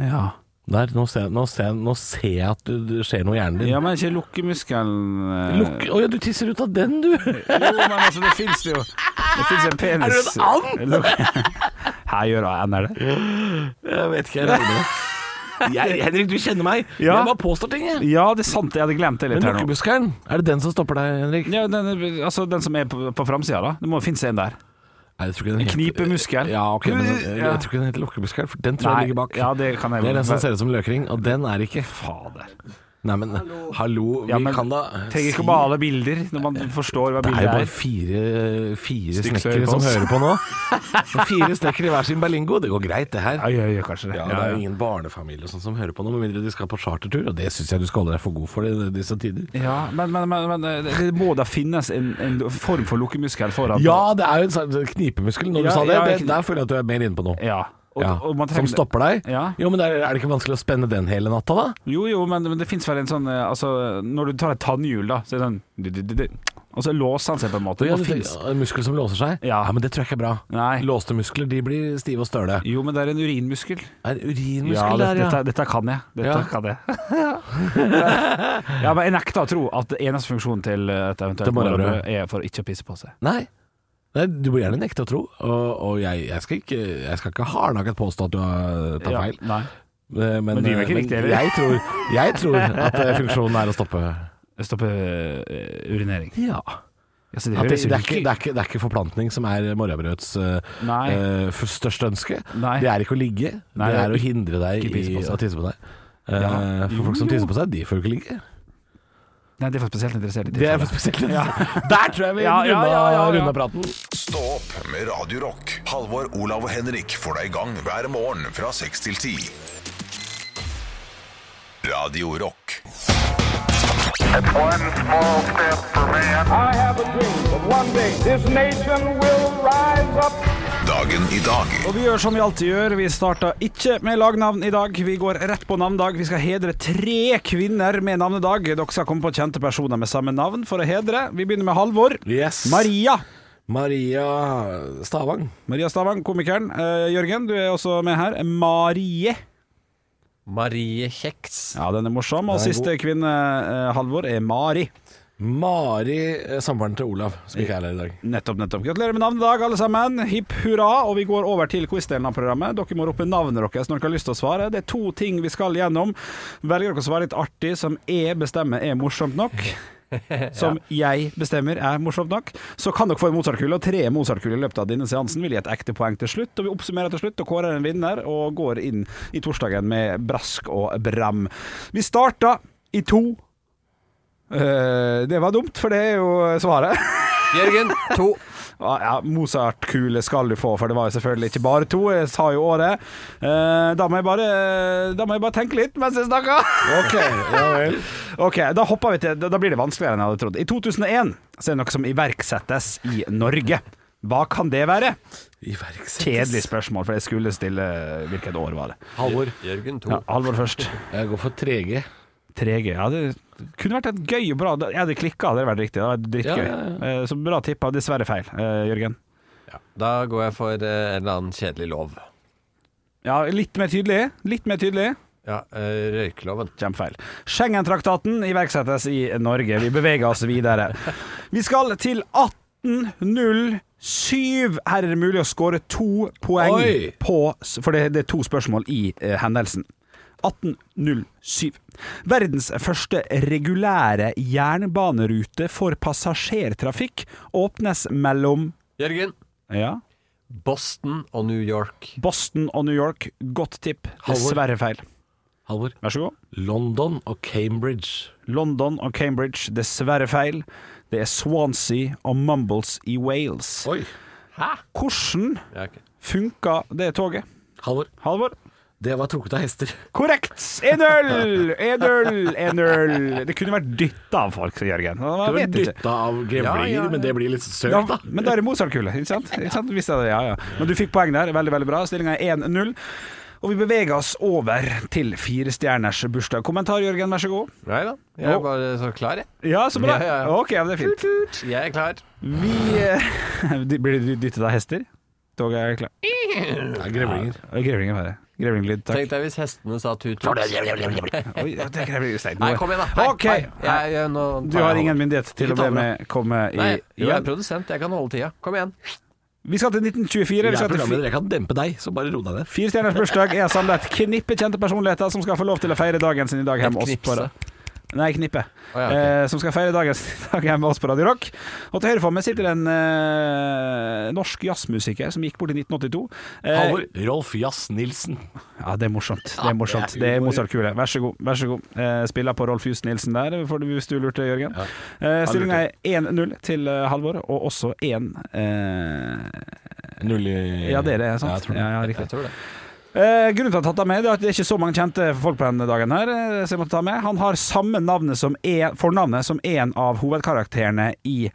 Speaker 5: Ja.
Speaker 3: Der, nå ser, jeg- nå ser, jeg- nå ser jeg at du, det skjer noe i hjernen din.
Speaker 5: ja, men ikke lukkemuskelen eh.
Speaker 3: Lukk Å ja, du tisser ut av den, du!
Speaker 5: Jo, men altså, det fins jo. Det fins en
Speaker 3: Er
Speaker 5: penis
Speaker 3: du en and?
Speaker 5: Lukk- Her gjør and er det?
Speaker 3: Jeg vet ikke, jeg regner med Jeg- Henrik, du kjenner meg.
Speaker 5: Ja.
Speaker 3: Jeg bare påstår ting, jeg.
Speaker 5: Ja, det er sant. Jeg hadde glemt det
Speaker 3: Men
Speaker 5: litt her nå.
Speaker 3: lukkemuskelen, er det den som stopper deg, Henrik?
Speaker 5: Ja, den, altså, den som er på, på framsida, da. Det må finnes en der.
Speaker 3: Nei, jeg tror ikke den
Speaker 5: En
Speaker 3: heter-
Speaker 5: knipemuskel.
Speaker 3: Ja, ok, men jeg,
Speaker 5: Ja.
Speaker 3: jeg tror ikke den heter lukkemuskel, for den tror jeg ligger bak.
Speaker 5: ja, det kan jeg
Speaker 3: det er den som
Speaker 5: vel-
Speaker 3: ser ut som løkring, og den er ikke
Speaker 5: Fader.
Speaker 3: Nei, men hallo, vi
Speaker 5: Ja, men
Speaker 3: kan da
Speaker 5: Trenger ikke å male alle bilder når man forstår hva
Speaker 3: Det er jo
Speaker 5: bildet
Speaker 3: bare
Speaker 5: er.
Speaker 3: fire, fire
Speaker 5: Stykk som
Speaker 3: snekkere
Speaker 5: hører på
Speaker 3: som
Speaker 5: oss.
Speaker 3: hører på nå. Og Fire snekkere i hver sin berlingo. Det går greit, det her.
Speaker 5: Ja, ja, ja, kanskje det.
Speaker 3: Ja,
Speaker 5: Ja,
Speaker 3: det er jo
Speaker 5: ja.
Speaker 3: ingen barnefamilie og sånn som hører på nå, med mindre de skal på chartertur, og det syns jeg du skal holde deg for god for i disse tider.
Speaker 5: Ja, men, men, men, men eh, det må da finnes en, en form for lukkemuskel foran.
Speaker 3: Ja, det er jo en sånn knipemuskel. Når
Speaker 5: Ja,
Speaker 3: du sa det,
Speaker 5: ja,
Speaker 3: det,
Speaker 5: kn-
Speaker 3: der føler jeg at du er mer inne på noe.
Speaker 5: Ja. Og,
Speaker 3: ja.
Speaker 5: og man
Speaker 3: Som
Speaker 5: trenger-
Speaker 3: stopper deg?
Speaker 5: Ja.
Speaker 3: Jo, men der, er det ikke vanskelig å spenne den hele natta, da?
Speaker 5: Jo, jo, men, men det fins vel en sånn eh, Altså, når du tar et tannhjul, da, så er det sånn du, du, du, du, Og så låser han seg på en måte.
Speaker 3: Ja,
Speaker 5: Det
Speaker 3: du
Speaker 5: finnes.
Speaker 3: tenker, en muskel som låser seg?
Speaker 5: Ja.
Speaker 3: men det tror jeg ikke er bra.
Speaker 5: Nei.
Speaker 3: Låste muskler de blir stive og støle.
Speaker 5: Jo, men det er en urinmuskel.
Speaker 3: Er urinmuskel
Speaker 5: Ja, det,
Speaker 3: der, ja.
Speaker 5: dette, dette kan jeg. Dette
Speaker 3: Ja.
Speaker 5: kan jeg. ja, men jeg nekter å tro at det eneste funksjonen til et
Speaker 3: Til
Speaker 5: eventuelt
Speaker 3: morgenbrød.
Speaker 5: morgenbrød er for ikke å pisse på seg.
Speaker 3: Nei. Nei, du må gjerne nekte å tro, og, og jeg, jeg skal ikke, jeg skal ikke hardnakket påstå at du har tatt
Speaker 5: Ja,
Speaker 3: feil. Eh,
Speaker 5: Nei.
Speaker 3: Men,
Speaker 5: Men det gjør ikke riktig, eller?
Speaker 3: jeg, tror, jeg tror at eh, funksjonen er å stoppe.
Speaker 5: Jeg stopper eh, urinering.
Speaker 3: Ja.
Speaker 5: Altså,
Speaker 3: At
Speaker 5: det
Speaker 3: det,
Speaker 5: høres
Speaker 3: det,
Speaker 5: jo
Speaker 3: er ikke, det, er ikke, det er ikke forplantning som er morgenbrødets eh,
Speaker 5: Nei.
Speaker 3: eh, f- største ønske.
Speaker 5: Nei.
Speaker 3: Det er ikke å ligge,
Speaker 5: Nei,
Speaker 3: det
Speaker 5: det er
Speaker 3: er å hindre deg
Speaker 5: ikke pisse
Speaker 3: i
Speaker 5: på seg.
Speaker 3: å tisse på deg. Eh,
Speaker 5: Ja.
Speaker 3: For folk som tisser på seg, de får jo ikke ligge.
Speaker 5: Nei, det er for spesielt interessert i
Speaker 3: Det er
Speaker 5: tilfellet.
Speaker 3: for spesielt. Der tror jeg vi
Speaker 5: Ja, ja,
Speaker 3: runda,
Speaker 5: ja, ja, ja.
Speaker 3: runda praten.
Speaker 1: Stå opp med Radio Rock. Halvor, Olav og Henrik får deg i gang hver morgen fra 6 til 10. Radio Rock.
Speaker 6: It's one small step for man.
Speaker 7: I have a dream that one day this nation will rise up.
Speaker 1: Dagen i dag.
Speaker 5: Og vi gjør som vi alltid gjør, vi starter ikke med lagnavn i dag. Vi går rett på navnedag. Vi skal hedre tre kvinner med navnedag. Dere skal komme på kjente personer med samme navn for å hedre. Vi begynner med Halvor.
Speaker 3: Yes.
Speaker 5: Maria.
Speaker 3: Maria Stavang.
Speaker 5: Maria Stavang, komikeren. Eh, Jørgen, du er også med her. Marie.
Speaker 4: Marie Kjeks.
Speaker 5: Ja, den er morsom. Og
Speaker 3: Den er
Speaker 5: siste kvinne, eh, Halvor, er Mari.
Speaker 3: Mari, eh, samboeren til Olav, som ikke er her i dag.
Speaker 5: Nettopp, nettopp. Gratulerer med navnet i dag, alle sammen. Hipp hurra. Og vi går over til quiz-delen av programmet. Dere må rope navnet deres når dere har lyst til å svare. Det er to ting vi skal gjennom. Velger dere å svare litt artig, som jeg bestemmer er morsomt nok. Som jeg bestemmer er morsomt nok. Så kan dere få en Mozart-kule, og tre Mozart-kuler i løpet av denne seansen vil gi et ekte poeng til slutt. Og vi oppsummerer til slutt og kårer en vinner, og går inn i torsdagen med brask og bram. Vi starta i to. Eh, det var dumt, for det er jo svaret.
Speaker 4: Jørgen, to.
Speaker 5: Ja, ja, Mozart-kule skal du få, for det var jo selvfølgelig ikke bare to. Jeg sa jo året. Eh, da, må jeg bare, da må jeg bare tenke litt mens jeg snakker.
Speaker 3: Ok, ja vel.
Speaker 5: Ok, da hopper vi til Da da blir det vanskeligere enn jeg hadde trodd. I 2001 så er det noe som iverksettes i Norge. Hva kan det være? Kjedelig
Speaker 3: Iverksettes.
Speaker 5: spørsmål, for jeg skulle stille hvilket år var det.
Speaker 3: Halvor.
Speaker 4: Jørgen, to.
Speaker 5: Ja, Alvor først.
Speaker 3: Jeg går for 3G.
Speaker 5: 3G. Ja, det kunne vært et gøy og bra Jeg hadde klikka, hadde det vært riktig. Det hadde vært drittgøy.
Speaker 3: Ja, ja,
Speaker 5: Eh, Så bra tippa. Dessverre feil, eh, Jørgen.
Speaker 4: Da går jeg for eh, en eller annen kjedelig lov.
Speaker 5: Ja, litt mer tydelig. Litt mer tydelig.
Speaker 4: Ja, eh, røykeloven.
Speaker 5: Kjempefeil. Schengen-traktaten iverksettes i Norge. Vi beveger oss videre. Vi skal til 1807. Her er det mulig å skåre to poeng,
Speaker 3: Oi.
Speaker 5: på, for det, det er to spørsmål i eh, hendelsen. 1807. Verdens første regulære jernbanerute for passasjertrafikk åpnes mellom
Speaker 4: Jørgen,
Speaker 5: ja,
Speaker 4: Boston og New York.
Speaker 5: Boston og New York. Godt tipp.
Speaker 3: Halvor.
Speaker 5: Dessverre feil.
Speaker 3: Halvor.
Speaker 5: Vær så god.
Speaker 3: London og Cambridge.
Speaker 5: London og Cambridge, dessverre feil. Det er Swansea og Mumbles i Wales.
Speaker 3: Oi.
Speaker 5: Hvordan
Speaker 4: Ja, ok.
Speaker 5: funka det toget?
Speaker 3: Halvor.
Speaker 5: Halvor?
Speaker 3: Det var trukket av hester.
Speaker 5: Korrekt! 1-0! 1-0! 1-0! Det kunne vært dytta av folk, Jørgen.
Speaker 3: Det
Speaker 5: Man
Speaker 3: var
Speaker 5: vet ikke.
Speaker 3: dytta av grevlinger,
Speaker 4: Ja, ja, ja.
Speaker 3: men det blir litt søkt,
Speaker 5: Ja,
Speaker 3: da.
Speaker 5: men da er det Mozart-kule, ikke sant? Ikke sant? Visste jeg det, ja, ja. Men du fikk poeng der. Veldig, veldig bra. Stillinga er 1-0. Og vi beveger oss over til firestjerners bursdag. Kommentar, Jørgen, vær så god.
Speaker 4: Nei da, jeg er bare så klar, jeg.
Speaker 5: Ja, så bra.
Speaker 4: Ja, ja, ja.
Speaker 5: Ok, ja, men det er fint.
Speaker 4: Jeg er klar.
Speaker 5: Vi eh, Blir du dyttet av hester? Toget er klart.
Speaker 3: Ja, grevlinger.
Speaker 5: Ja, Grevling er verre. Grevlinglyd, takk.
Speaker 4: Tenk deg hvis hestene sa tut-tut.
Speaker 5: Oi, ja, det er grevling, Stein,
Speaker 4: Nei,
Speaker 5: nå-
Speaker 4: kom igjen, da. Nei,
Speaker 5: Ok.
Speaker 4: nei. Jeg, jeg, nå tar
Speaker 5: Du har
Speaker 4: jeg
Speaker 5: ingen
Speaker 4: hånden.
Speaker 5: myndighet til
Speaker 4: Ikke
Speaker 5: å be
Speaker 4: ta meg.
Speaker 5: meg komme i
Speaker 4: Nei, jo, jeg er
Speaker 5: igjen.
Speaker 4: produsent. Jeg kan holde tida. Kom igjen.
Speaker 5: Vi skal til 1924.
Speaker 3: Jeg
Speaker 5: Vi
Speaker 3: er
Speaker 5: skal til
Speaker 3: programleder, jeg kan dempe deg, så bare ro deg ned.
Speaker 5: Fire stjerners bursdag er samlet et knippe kjente personligheter som skal få lov til å feire dagen sin i dag hjemme
Speaker 4: Et
Speaker 5: hos oss. på
Speaker 4: knipse.
Speaker 5: ra- Nei, knippe.
Speaker 4: Å, ja, ok.
Speaker 5: eh, som skal feire dagen sin i dag hjemme hos oss på Radio Rock. Og til høyre for meg sitter en eh, norsk jazzmusiker som gikk bort i 1982. Eh,
Speaker 3: Halvor. Rolf Jazz Nilsen.
Speaker 5: Ja, det er morsomt. Det er morsomt.
Speaker 3: det er
Speaker 5: Det er
Speaker 3: humor.
Speaker 5: Mozart-kule. Vær så god. Vær så god. Eh, spiller på Rolf Just Nilsen der, for du- hvis du lurte, Jørgen. Eh, Stillinga er 1-0 til eh, Halvor, og også 1 eh,
Speaker 3: Null i
Speaker 5: Ja, det er det, sant?
Speaker 3: Ja, jeg tror det.
Speaker 5: Ja, ja, riktig.
Speaker 4: Jeg tror det.
Speaker 5: Eh, grunnen til at jeg har tatt deg med, det er at det er ikke så mange kjente folk på denne dagen her, eh, så jeg måtte ta med. Han har samme navnet som er, fornavnet som en av hovedkarakterene i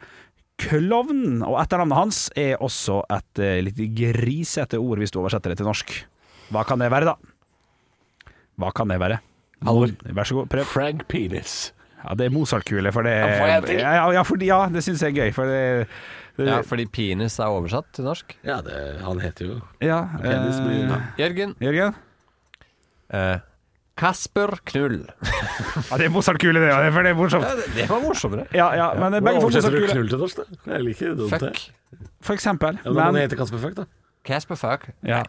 Speaker 5: Klovnen, og etternavnet hans er også et eh, litt grisete ord, hvis du oversetter det til norsk. Hva kan det være, da? Hva kan det være?
Speaker 3: Halvor.
Speaker 5: Vær så god, prøv.
Speaker 3: Frank Penis.
Speaker 5: Ja, det er Mozart-kule, for det
Speaker 3: Ja, får jeg til?
Speaker 5: ja, ja, ja, fordi, ja, det syns jeg er gøy, for det, det
Speaker 4: Ja, fordi penis er oversatt til norsk.
Speaker 3: Ja, det, han heter jo
Speaker 5: Eh, ja,
Speaker 3: Penis blir-
Speaker 5: eh,
Speaker 4: Jørgen.
Speaker 5: Jørgen?
Speaker 4: Eh, Kasper Knull.
Speaker 5: Ja, det er Mozart-kule, det, ja, for det er morsomt.
Speaker 4: Det var morsommere.
Speaker 5: Ja, ja, men begge får Mozart-kule,
Speaker 3: knull til norsk, da? Jeg liker det.
Speaker 4: Fuck.
Speaker 5: for eksempel.
Speaker 3: Ja, men han
Speaker 5: Men
Speaker 3: heter Kasper Fuck, da.
Speaker 4: Casper Fuck.
Speaker 5: ja.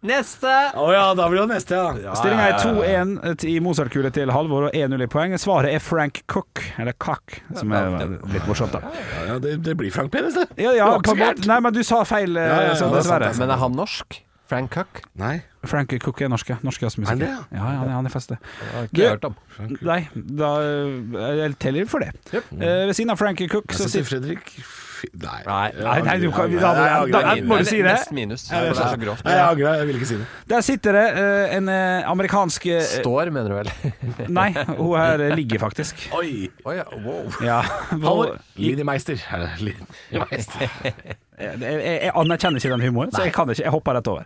Speaker 4: Neste!
Speaker 3: Å ja, da blir det neste, ja.
Speaker 5: Stillinga er 2-1 i Mozart-kule til Halvor og 1-0 i poeng. Svaret er Frank Cook, eller Kakk, som er litt morsomt, da.
Speaker 3: Ja, ja, det, det blir Frank Penis, det.
Speaker 5: Ja, ja,
Speaker 3: Det var ikke
Speaker 5: på
Speaker 3: så
Speaker 5: en måte.
Speaker 3: gærent.
Speaker 5: Nei, men du sa feil, eh,
Speaker 3: ja, ja, det er
Speaker 5: så
Speaker 3: sant,
Speaker 5: dessverre.
Speaker 3: det er sant.
Speaker 4: Men er han norsk? Frank Cook?
Speaker 8: Nei,
Speaker 5: Frank Cook er norske. Norske
Speaker 8: Er han
Speaker 5: jazzmusikere.
Speaker 8: det,
Speaker 5: Ja, ja, han er- han er fest, det.
Speaker 4: Det har jeg
Speaker 5: Du-
Speaker 4: ikke hørt om.
Speaker 5: Nei, da jeg teller for det. Eh, ved siden av Frank Cook
Speaker 8: jeg
Speaker 5: så
Speaker 8: sitter
Speaker 5: sitter
Speaker 8: Fredrik Fy- Nei.
Speaker 4: Nei,
Speaker 5: Nei, nei, du kan,
Speaker 8: Jeg
Speaker 5: da, da,
Speaker 8: angrer.
Speaker 5: da, må du si det.
Speaker 4: Nesten minus.
Speaker 5: Ja, det er
Speaker 4: for
Speaker 8: Nei,
Speaker 4: det er så grovt.
Speaker 8: jeg angrer, jeg vil ikke si det.
Speaker 5: Der sitter det eh, en eh, amerikansk eh,
Speaker 4: Står, mener du vel?
Speaker 5: Nei, hun her eh, ligger faktisk.
Speaker 3: Oi!
Speaker 4: Å ja, wow.
Speaker 5: Ja,
Speaker 3: Halvor.
Speaker 5: hun-
Speaker 3: Lini Meister. Er det Lini Meister?
Speaker 5: Jeg, jeg, jeg anerkjenner ikke den humoren, så jeg kan ikke, jeg hopper rett over.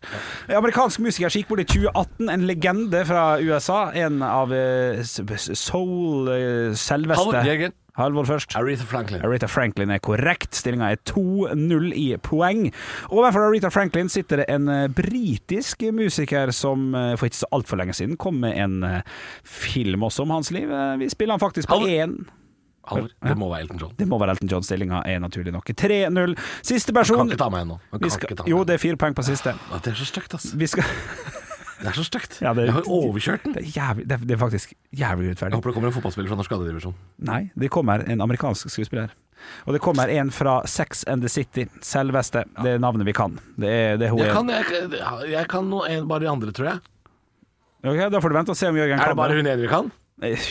Speaker 5: En Amerikansk musiker som gikk bort i 2018, en legende fra USA. En av eh, s- s- soul eh,
Speaker 4: Halvor,
Speaker 5: selveste
Speaker 4: Jørgen.
Speaker 5: Halvor først.
Speaker 8: Aretha Franklin.
Speaker 5: Aretha Franklin er korrekt. Stillinga er 2-0 i poeng. Overfor Aretha Franklin sitter det en eh, britisk musiker som eh, for ikke så altfor lenge siden kom med en eh, film også om hans liv. Eh, Vi spiller han faktisk på
Speaker 3: Halvor.
Speaker 5: én
Speaker 3: Halvor, det må være Elton John.
Speaker 5: Det må være Elton John. Stillinga er naturlig nok 3-0. Siste
Speaker 3: Kan
Speaker 5: person
Speaker 3: ikke ta meg ennå.
Speaker 5: vi skal, Jo, det er fire poeng på siste.
Speaker 3: Det er så stygt, ass.
Speaker 5: Vi skal
Speaker 3: Det er så stygt.
Speaker 5: Ja, det-
Speaker 3: Jeg har overkjørt den.
Speaker 5: Det er, jævlig, det er, det er faktisk jævlig
Speaker 8: Jeg
Speaker 5: urettferdig.
Speaker 8: håper det kommer en fotballspiller fra norsk andredivisjon.
Speaker 5: Nei, det kommer en amerikansk skuespiller. Og det kommer en fra Sex and the City. Selveste. Det er navnet vi kan. Det er, det er hun
Speaker 3: Jeg
Speaker 5: er.
Speaker 3: kan, jeg, jeg kan noe, en, bare de andre, tror jeg.
Speaker 5: Ok, da får du vente og se om Jørgen
Speaker 3: Er
Speaker 5: kan
Speaker 3: det bare hun ene vi kan?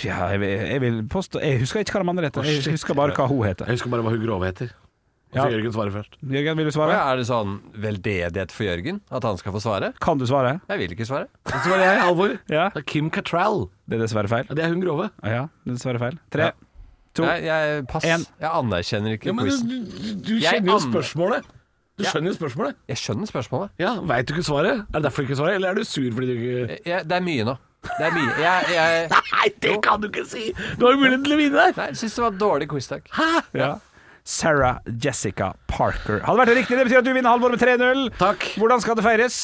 Speaker 5: Ja, jeg, vil- jeg vil påstå Jeg husker ikke hva de andre
Speaker 3: Å,
Speaker 5: heter. Jeg
Speaker 3: shit.
Speaker 5: husker bare hva hun heter.
Speaker 3: Jeg husker bare hva hun grove heter. Og så
Speaker 5: Ja.
Speaker 3: Jørgen svarer først.
Speaker 5: Jørgen, vil du
Speaker 4: Å
Speaker 5: svare?
Speaker 4: ja, er det sånn veldedighet for Jørgen? At han skal få svare?
Speaker 5: Kan du svare?
Speaker 4: Jeg vil ikke svare.
Speaker 3: Så svarer jeg Halvor.
Speaker 5: Ja.
Speaker 3: Det er Kim Cattrall.
Speaker 5: Det er dessverre feil.
Speaker 3: Ja, Det er hun grove.
Speaker 5: Ja, det er dessverre feil. Tre.
Speaker 4: Ja.
Speaker 5: To.
Speaker 4: Nei, jeg, pass.
Speaker 5: En.
Speaker 4: Jeg anerkjenner ikke
Speaker 3: Ja, men
Speaker 4: quizen.
Speaker 3: du, du, du
Speaker 4: Jeg
Speaker 3: kjenner jo
Speaker 4: an-
Speaker 3: spørsmålet. Du
Speaker 4: Ja.
Speaker 3: skjønner jo spørsmålet.
Speaker 4: Jeg skjønner spørsmålet.
Speaker 3: Ja, Veit du ikke svaret? Er det derfor du ikke svarer, eller er du sur fordi du ikke
Speaker 4: Jeg, jeg, det er mye nå. Det er mye. Jeg, jeg,
Speaker 3: Nei, det kan du ikke si! Du har jo muligheten til å vinne der.
Speaker 4: nei, jeg syns det var et dårlig quiz, takk.
Speaker 5: Ja. Sarah Jessica Parker. Hadde vært riktig. Det betyr at du vinner Halvor med 3-0.
Speaker 3: Takk.
Speaker 5: Hvordan skal det feires?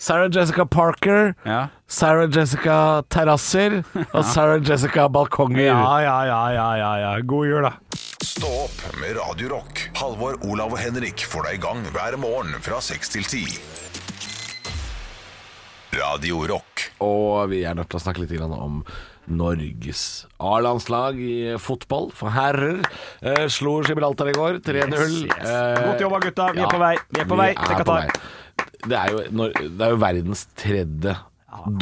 Speaker 3: Sarah Jessica Parker,
Speaker 5: Ja.
Speaker 3: Sarah Jessica Terrasser og Sarah Jessica Balkonger.
Speaker 5: Ja, ja, ja, ja, ja, ja. God jul, da.
Speaker 1: Stå opp med Radio Rock. Halvor, Olav og Henrik får deg i gang hver morgen fra 6 til 10. Radio Rock.
Speaker 3: Og vi er nødt til å snakke litt grann om Norges A-landslag i fotball for herrer. Eh, slo Gibraltar i går 3-0. Eh,
Speaker 5: Godt jobba, gutta. Vi er
Speaker 3: ja,
Speaker 5: på vei. Vi er på vei til
Speaker 3: er på
Speaker 5: Qatar.
Speaker 3: vei. Det er, jo, når- det er jo verdens tredje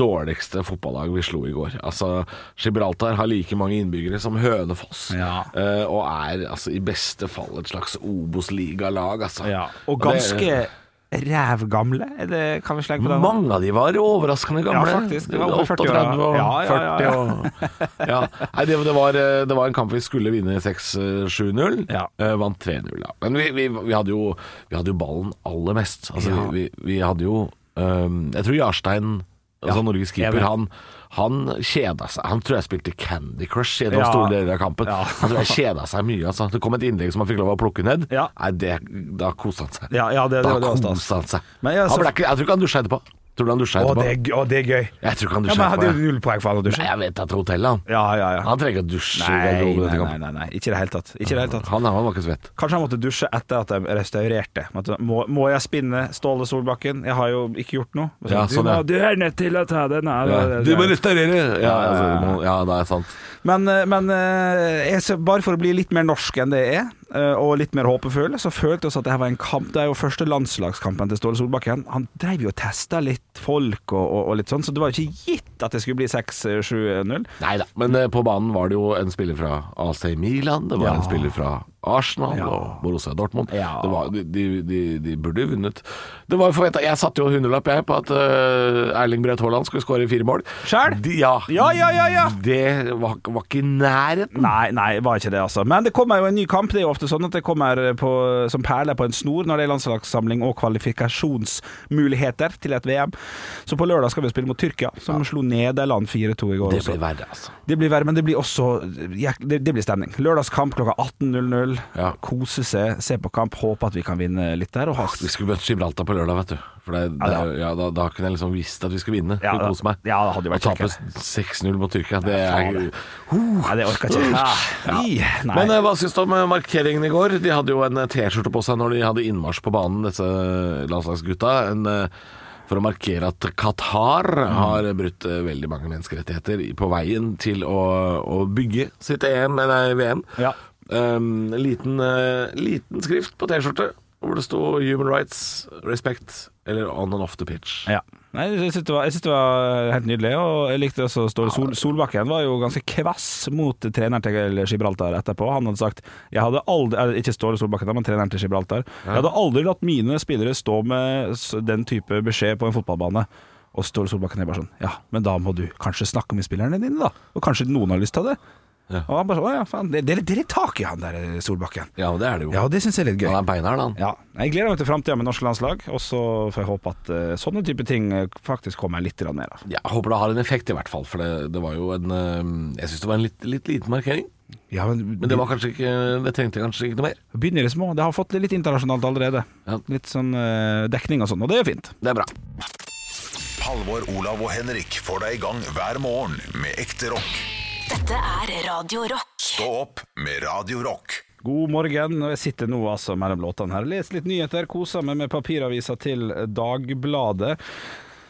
Speaker 3: dårligste fotballag vi slo i går. Altså, Gibraltar har like mange innbyggere som Hønefoss,
Speaker 5: Ja.
Speaker 3: eh, og er altså, i beste fall et slags Obos-ligalag. Altså.
Speaker 5: Og
Speaker 3: det-
Speaker 5: ganske rævgamle, er det kan vi slenge på den?
Speaker 3: mange av de var overraskende gamle.
Speaker 5: Ja, faktisk. Det var over 40 år,
Speaker 3: 38 og
Speaker 5: ja. Ja, ja, ja,
Speaker 3: 40 og ja. Nei, det, det, var, eh, det var en kamp vi skulle vinne 6-7-0.
Speaker 5: Ja.
Speaker 3: Eh, Vant 3-0, da. Men vi, vi, vi, hadde jo, vi hadde jo ballen aller mest. Altså,
Speaker 5: Ja.
Speaker 3: vi, vi, vi hadde jo ehm, Jeg tror Jarstein Altså Norges keeper,
Speaker 5: enig.
Speaker 3: han, han kjeda seg. Han tror jeg spilte Candy Crush gjennom
Speaker 5: Ja.
Speaker 3: store deler av kampen.
Speaker 5: Ja.
Speaker 3: Han tror jeg kjeda seg mye. Altså. Det kom et innlegg som han fikk lov å plukke ned.
Speaker 5: Ja.
Speaker 3: Nei, det, da kosa han seg.
Speaker 5: Ja, ja, det- det-
Speaker 3: da
Speaker 5: det var stas.
Speaker 3: kosa han seg.
Speaker 5: Men jeg-
Speaker 3: han ble ikke, jeg tror ikke han dusja etterpå. Tror du han dusja
Speaker 5: Å,
Speaker 3: etterpå?
Speaker 5: det er, gøy- å, det er gøy.
Speaker 3: Jeg tror ikke han
Speaker 5: Ja, men
Speaker 3: dusja
Speaker 5: jeg hadde jo
Speaker 3: etterpå.
Speaker 5: null poeng for han å
Speaker 3: jeg.
Speaker 5: dusje.
Speaker 3: Nei, jeg vet at hotellet, han.
Speaker 5: Ja, ja, ja.
Speaker 3: Han trenger ikke å dusje. i
Speaker 5: Nei,
Speaker 3: garderoben etter
Speaker 5: nei, nei,
Speaker 3: kampen.
Speaker 5: nei, nei. Ikke i det hele tatt. Ikke i det hele tatt.
Speaker 3: Han, han var ikke svett.
Speaker 5: Kanskje han måtte dusje etter at de restaurerte. Måtte- Må, må jeg spinne Ståle Solbakken? Jeg har jo ikke gjort noe. Og så,
Speaker 3: Ja, sånn,
Speaker 5: du, må,
Speaker 3: ja.
Speaker 5: du er nødt til å ta den her.
Speaker 3: Ja. Du må restaurere! Ja, altså, du må- ja, det er sant.
Speaker 5: Men, eh, men eh, jeg, ser- bare for å bli litt mer norsk enn det jeg er, eh, og litt mer håpefull, så følte jeg også at dette var en kamp. Det er jo første landslagskampen til Ståle Solbakken. Han drev jo og testa litt folk og, og, og litt sånn, så det var jo ikke gitt at det skulle bli 6-7-0.
Speaker 3: Nei da. Men eh, på banen var det jo en spiller fra AC Milan, det var
Speaker 5: Ja.
Speaker 3: en spiller fra Arsenal
Speaker 5: Ja.
Speaker 3: og Borussia Dortmund.
Speaker 5: Ja.
Speaker 3: Det var, de, de, de- de burde jo vunnet. Det var jo forventet, Jeg satte jo hundrelapp jeg på at eh, Erling Braut Haaland skulle skåre fire mål.
Speaker 5: Skjær?
Speaker 3: De, ja.
Speaker 5: Ja, ja, ja, ja!
Speaker 3: Det var, var ikke i nærheten.
Speaker 5: Nei, nei, det var ikke det, altså. Men det kommer jo en ny kamp. Det er jo ofte sånn at det kommer på, som perler på en snor når det er landslagssamling og kvalifikasjonsmuligheter til et VM. Så på lørdag skal vi spille mot Tyrkia, som slo Nederland 4-2 i går.
Speaker 3: Det
Speaker 5: også.
Speaker 3: ble verre, altså.
Speaker 5: Det blir verre, men det blir også jæk- Det, det blir stemning. Lørdagskamp klokka 18.00.
Speaker 3: Ja.
Speaker 5: Kose seg, se på kamp, håpe at vi kan vinne litt der. Og ha
Speaker 3: Vi skulle møtt Gibraltar på lørdag, vet du. For det, det,
Speaker 5: Ja,
Speaker 3: ja, da, da kunne jeg liksom visst at vi skulle vinne.
Speaker 5: Ja,
Speaker 3: Ja,
Speaker 5: da-
Speaker 3: Kose meg.
Speaker 5: ja, det hadde jo vært
Speaker 3: Å tape
Speaker 5: kjekkere.
Speaker 3: 6-0 mot Tyrkia, det er
Speaker 5: faen.
Speaker 3: Huh.
Speaker 5: Nei, det orker jeg ikke. Ja. Nei.
Speaker 3: Men eh, hva syns du om eh, markeringen i går? De hadde jo en eh, T-skjorte på seg når de hadde innmarsj på banen, disse landslagsgutta. En, eh, for å markere at Qatar
Speaker 5: Mm.
Speaker 3: har brutt eh, veldig mange menneskerettigheter i- på veien til å, å bygge sitt EM, eh, nei, Ehm, VM.
Speaker 5: Ja.
Speaker 3: Um, liten, eh, liten skrift på T-skjorte. hvor det sto 'Human Rights, Respect' eller 'On and Off the Pitch'.
Speaker 5: Ja. Nei, jeg syns det, var- jeg synes det var eh, helt nydelig, og jeg likte også Ståle Sol, Solbakken. Var jo ganske kvass mot treneren til Gibraltar etterpå. Han hadde sagt jeg hadde aldri, eller Ikke Ståle Solbakken, da, men treneren til Gibraltar. Jeg hadde aldri latt mine spillere stå med s- den type beskjed på en fotballbane. Og Ståle Solbakken er bare sånn Ja, men da må du kanskje snakke med spillerne dine, da. Og kanskje noen har lyst til det. Og han bare sånn, «Å ja, faen, det, det, er litt- det er litt tak i han der eh, Solbakken.
Speaker 3: Ja, det er det jo.
Speaker 5: Ja, det syns jeg er litt gøy.
Speaker 8: Han er beinhard, han.
Speaker 5: Ja, Jeg gleder meg til framtida med norsk landslag, og så får jeg håpe at eh, sånne type ting eh, faktisk kommer litt grann mer av.
Speaker 3: Ja, jeg håper det har en effekt, i hvert fall. For det, det var jo en eh, Jeg syns det var en litt, litt liten markering.
Speaker 5: Ja, men,
Speaker 3: Men det var kanskje ikke Det trengte kanskje ikke noe mer.
Speaker 5: Begynner i det små. Det har fått litt internasjonalt allerede.
Speaker 3: Ja.
Speaker 5: Litt sånn eh, dekning og sånn, og det er fint.
Speaker 3: Det er bra.
Speaker 1: Halvor, Olav og Henrik får deg i gang hver morgen med ekte rock.
Speaker 2: Dette er Radio Rock.
Speaker 1: Stå opp med Radio Rock.
Speaker 5: God morgen. og Jeg sitter nå altså mellom låtene her. Les litt nyheter, koser meg med papiravisa til Dagbladet.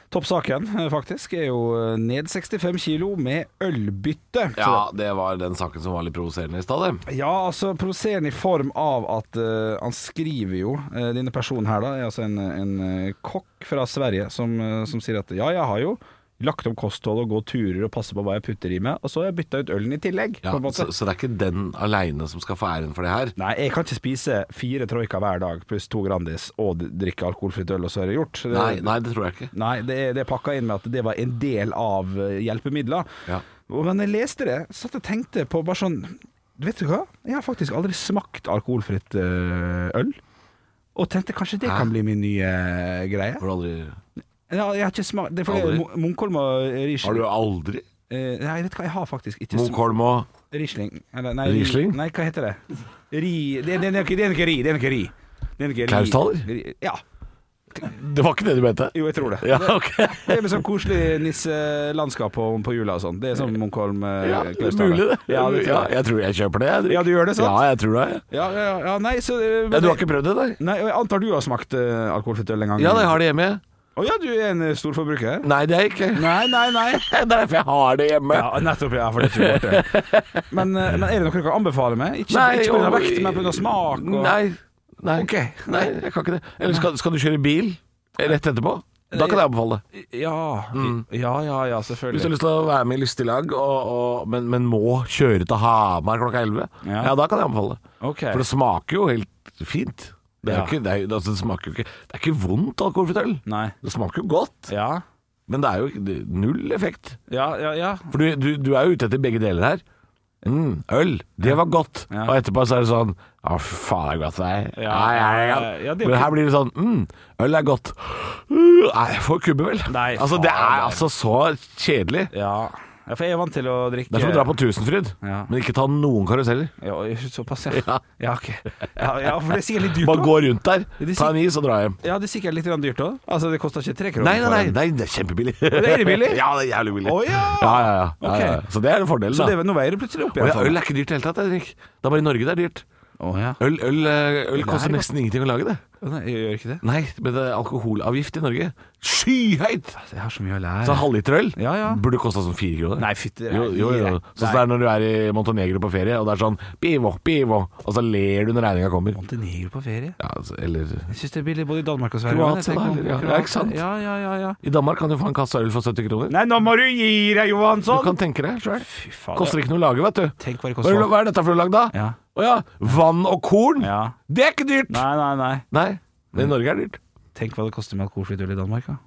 Speaker 5: Toppsaken, eh, faktisk, er jo eh, ned 65 kilo med ølbytte. Så
Speaker 3: Ja, det var den saken som var litt provoserende i stad, det.
Speaker 5: Ja, altså provoserende i form av at eh, han skriver jo eh, Denne personen her da er altså en, en eh, kokk fra Sverige som, eh, som sier at ja, jeg har jo lagt om kosthold og gå turer og passe på hva jeg putter i meg, og så har jeg bytta ut ølen i tillegg.
Speaker 3: Ja,
Speaker 5: på en måte.
Speaker 3: så, så det er ikke den aleine som skal få æren for det her.
Speaker 5: Nei, jeg kan ikke spise fire troika hver dag pluss to Grandis og d- drikke alkoholfritt øl, og så er det gjort. Det-
Speaker 3: Nei, nei, det tror jeg ikke.
Speaker 5: Nei, det er, det er pakka inn med at det var en del av eh, hjelpemidler.
Speaker 3: Ja.
Speaker 5: Og Men jeg leste det, satt og tenkte på bare sånn Vet du hva? Jeg har faktisk aldri smakt alkoholfritt eh, øl. Og tenkte kanskje det
Speaker 3: Hæ?
Speaker 5: kan bli min nye eh, greie.
Speaker 3: Har du aldri
Speaker 5: Ja, jeg har ikke smakt Det er fordi
Speaker 3: Aldri?
Speaker 5: Mo- Munkholm og
Speaker 3: Har
Speaker 5: Riesling
Speaker 3: du aldri?
Speaker 5: Eh, Nei, vet du hva, jeg har faktisk ikke smakt
Speaker 3: Munkholm og
Speaker 5: Riesling. Eller, nei,
Speaker 3: Riesling?
Speaker 5: Nei, hva heter det? Ri Det, det, det, er ikke- det er ikke ri. Det er ikke ri. Det er ikke ri.
Speaker 3: Klausthaler?
Speaker 5: Ri- Ja.
Speaker 3: Det var ikke det du mente?
Speaker 5: Jo, jeg tror det.
Speaker 3: Ja, ok.
Speaker 5: Det er med sånn koselig nisselandskap på, på jula og sånn. Det er sånn Munkholm eh,
Speaker 3: Ja, det er
Speaker 5: Klausthaler.
Speaker 3: mulig, det.
Speaker 5: Ja, det tror jeg.
Speaker 3: jeg tror jeg kjøper det. jeg.
Speaker 5: Ja, du gjør det, sant?
Speaker 3: Ja, jeg tror det.
Speaker 5: Ja, ja, ja, nei, så eh,
Speaker 3: Ja, du har ikke prøvd det, nei?
Speaker 5: Nei, og Jeg antar du har smakt eh, alkoholfritt øl en gang?
Speaker 3: Ja, jeg har det hjemme.
Speaker 5: Å ja, du er en eh, storforbruker?
Speaker 3: Nei, det er jeg ikke.
Speaker 5: Nei, nei, nei.
Speaker 3: Det er derfor jeg har det hjemme.
Speaker 5: Ja, nettopp, ja, for det er ikke borte. Men, eh, men er det noe du kan anbefale meg? Ikke,
Speaker 3: Nei,
Speaker 5: ikke på grunn av
Speaker 3: og-
Speaker 5: vekt, men på grunn av smak? Og...
Speaker 3: Nei. Nei. nei, jeg kan ikke det. Eller skal, skal du kjøre bil rett etterpå? Da kan jeg anbefale det.
Speaker 5: Ja, ja, ja,
Speaker 3: Mm. Hvis du
Speaker 5: ja,
Speaker 3: har
Speaker 5: selvfølgelig.
Speaker 3: lyst til å være med i lystig lag, og, og, men, men må kjøre til Hamar klokka 11, ja.
Speaker 5: Ja.
Speaker 3: da kan jeg anbefale det.
Speaker 5: Ok.
Speaker 3: For det smaker jo helt fint. Det er, jo
Speaker 5: Ja.
Speaker 3: ikke, det, er, jo- altså, det smaker jo ikke Det er ikke vondt alkoholfritt øl.
Speaker 5: Nei.
Speaker 3: Det smaker jo godt,
Speaker 5: Ja,
Speaker 3: men det er jo ikke- det- null effekt.
Speaker 5: ja, ja. ja.
Speaker 3: For du, du, du er jo ute etter begge deler her. Mm, øl, det var godt.
Speaker 5: Ja.
Speaker 3: Og etterpå så er det sånn Å, fy faen, det er godt, nei.
Speaker 5: Ja.
Speaker 3: Nei, nei, nei.
Speaker 5: Ja, det er jo
Speaker 3: Men
Speaker 5: ikke-
Speaker 3: her blir det sånn mm, Øl er godt. Uh, Nei, jeg får kubbe, vel.
Speaker 5: Nei,
Speaker 3: altså, det
Speaker 5: faen,
Speaker 3: er
Speaker 5: nei.
Speaker 3: altså så kjedelig.
Speaker 5: ja. ja for jeg er vant til å drikke
Speaker 3: Det er som å dra på Tusenfryd,
Speaker 5: Ja.
Speaker 3: men ikke ta noen karuseller.
Speaker 5: Ja, Såpass, ja.
Speaker 3: Ja.
Speaker 5: Ja, ok. Ja, ja, for det er sikkert litt dyrt.
Speaker 3: Bare
Speaker 5: da.
Speaker 3: gå rundt der,
Speaker 5: det
Speaker 3: ta en is og dra hjem.
Speaker 5: Ja, det er sikkert litt grann dyrt òg. Altså, det koster ikke tre kroner.
Speaker 3: Nei, nei,
Speaker 5: for
Speaker 3: nei,
Speaker 5: en.
Speaker 3: nei det er kjempebillig.
Speaker 5: er billig?
Speaker 3: Ja, det er jævlig billig.
Speaker 5: Å, ja.
Speaker 3: Ja, ja, ja. ja,
Speaker 5: Ok.
Speaker 3: ja. Så det er en fordel,
Speaker 5: Så
Speaker 3: da.
Speaker 5: det, nå veier det plutselig opp
Speaker 3: Og
Speaker 5: igjen.
Speaker 3: ja, øl er ikke dyrt i det hele tatt, Henrik. Det er bare i Norge det er dyrt.
Speaker 5: Å, ja.
Speaker 3: Øl, øl, eh, øl koster
Speaker 5: Nei, da.
Speaker 3: nesten ingenting å lage, det.
Speaker 5: Nei, jeg gjør ikke det.
Speaker 3: Nei, men det er alkoholavgift i Norge Skyhøyt!
Speaker 5: altså, Jeg har så mye å lære.
Speaker 3: Så en halvliter øl
Speaker 5: Ja, ja.
Speaker 3: burde kosta sånn fire kroner.
Speaker 5: Nei, fytti det er
Speaker 3: jo, jo, jo.
Speaker 5: fire.
Speaker 3: Sånn som det er når du er i Montenegro på ferie, og det er sånn Bivo, bivo, og så ler du når regninga kommer.
Speaker 5: Montenegro på ferie?
Speaker 3: Ja, altså, eller
Speaker 5: Jeg syns det er billig både i Danmark og Sverige.
Speaker 3: Kroatia,
Speaker 5: men jeg
Speaker 3: da,
Speaker 5: tenker
Speaker 3: eller? Ja,
Speaker 5: om-
Speaker 3: ja, ikke sant?
Speaker 5: Ja, ja, ja, ja.
Speaker 3: I Danmark kan du få en kasse øl for 70 kroner.
Speaker 5: Nei, nå må du gi deg,
Speaker 3: Du
Speaker 5: Johansson!
Speaker 3: kan tenke deg sjøl.
Speaker 5: Fy faen.
Speaker 3: Koster ikke noe å lage, vet du.
Speaker 5: Tenk hva det
Speaker 3: Hva
Speaker 5: koster.
Speaker 3: er, hva er dette for noe lag, da?
Speaker 5: Ja.
Speaker 3: Å ja, vann og korn?
Speaker 5: Ja.
Speaker 3: Det er ikke dyrt!
Speaker 5: Nei, nei, nei.
Speaker 3: Nei, men i Norge er det dyrt.
Speaker 5: Tenk hva det koster med alkoholfritt øl i Danmark, da.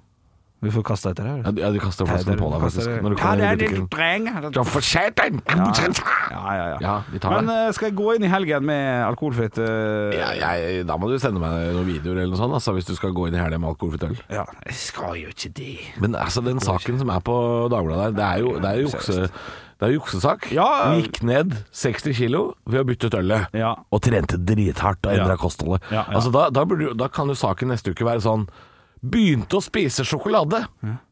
Speaker 5: Vi får kasta etter her.
Speaker 3: Ja, du, ja, du kaster flasken på deg, faktisk. Når du
Speaker 5: Ja, det
Speaker 3: kommer inn
Speaker 5: er
Speaker 3: i butikken.
Speaker 5: litt dreng.
Speaker 3: Ja, for satan!
Speaker 5: Ja, ja, ja.
Speaker 3: Ja, vi tar
Speaker 5: Men
Speaker 3: det.
Speaker 5: eh, skal jeg gå inn i helgen med alkoholfritt eh,
Speaker 3: Ja, jeg, da må du sende meg noen videoer eller noe sånt, altså, hvis du skal gå inn i helga med alkoholfritt øl.
Speaker 5: Ja, jeg skal jo ikke det.
Speaker 3: Men altså, den saken som er på Dagbladet der, det er jo, det er jo jukse... Det er jo juksesak.
Speaker 5: Ja.
Speaker 3: Gikk ned 60 kilo ved å bytte ut ølet.
Speaker 5: Ja.
Speaker 3: Og trente drithardt og endra
Speaker 5: Ja.
Speaker 3: kostholdet.
Speaker 5: Ja, ja.
Speaker 3: Altså, da, da, burde, jo- da kan jo saken neste uke være sånn Begynte å spise sjokolade.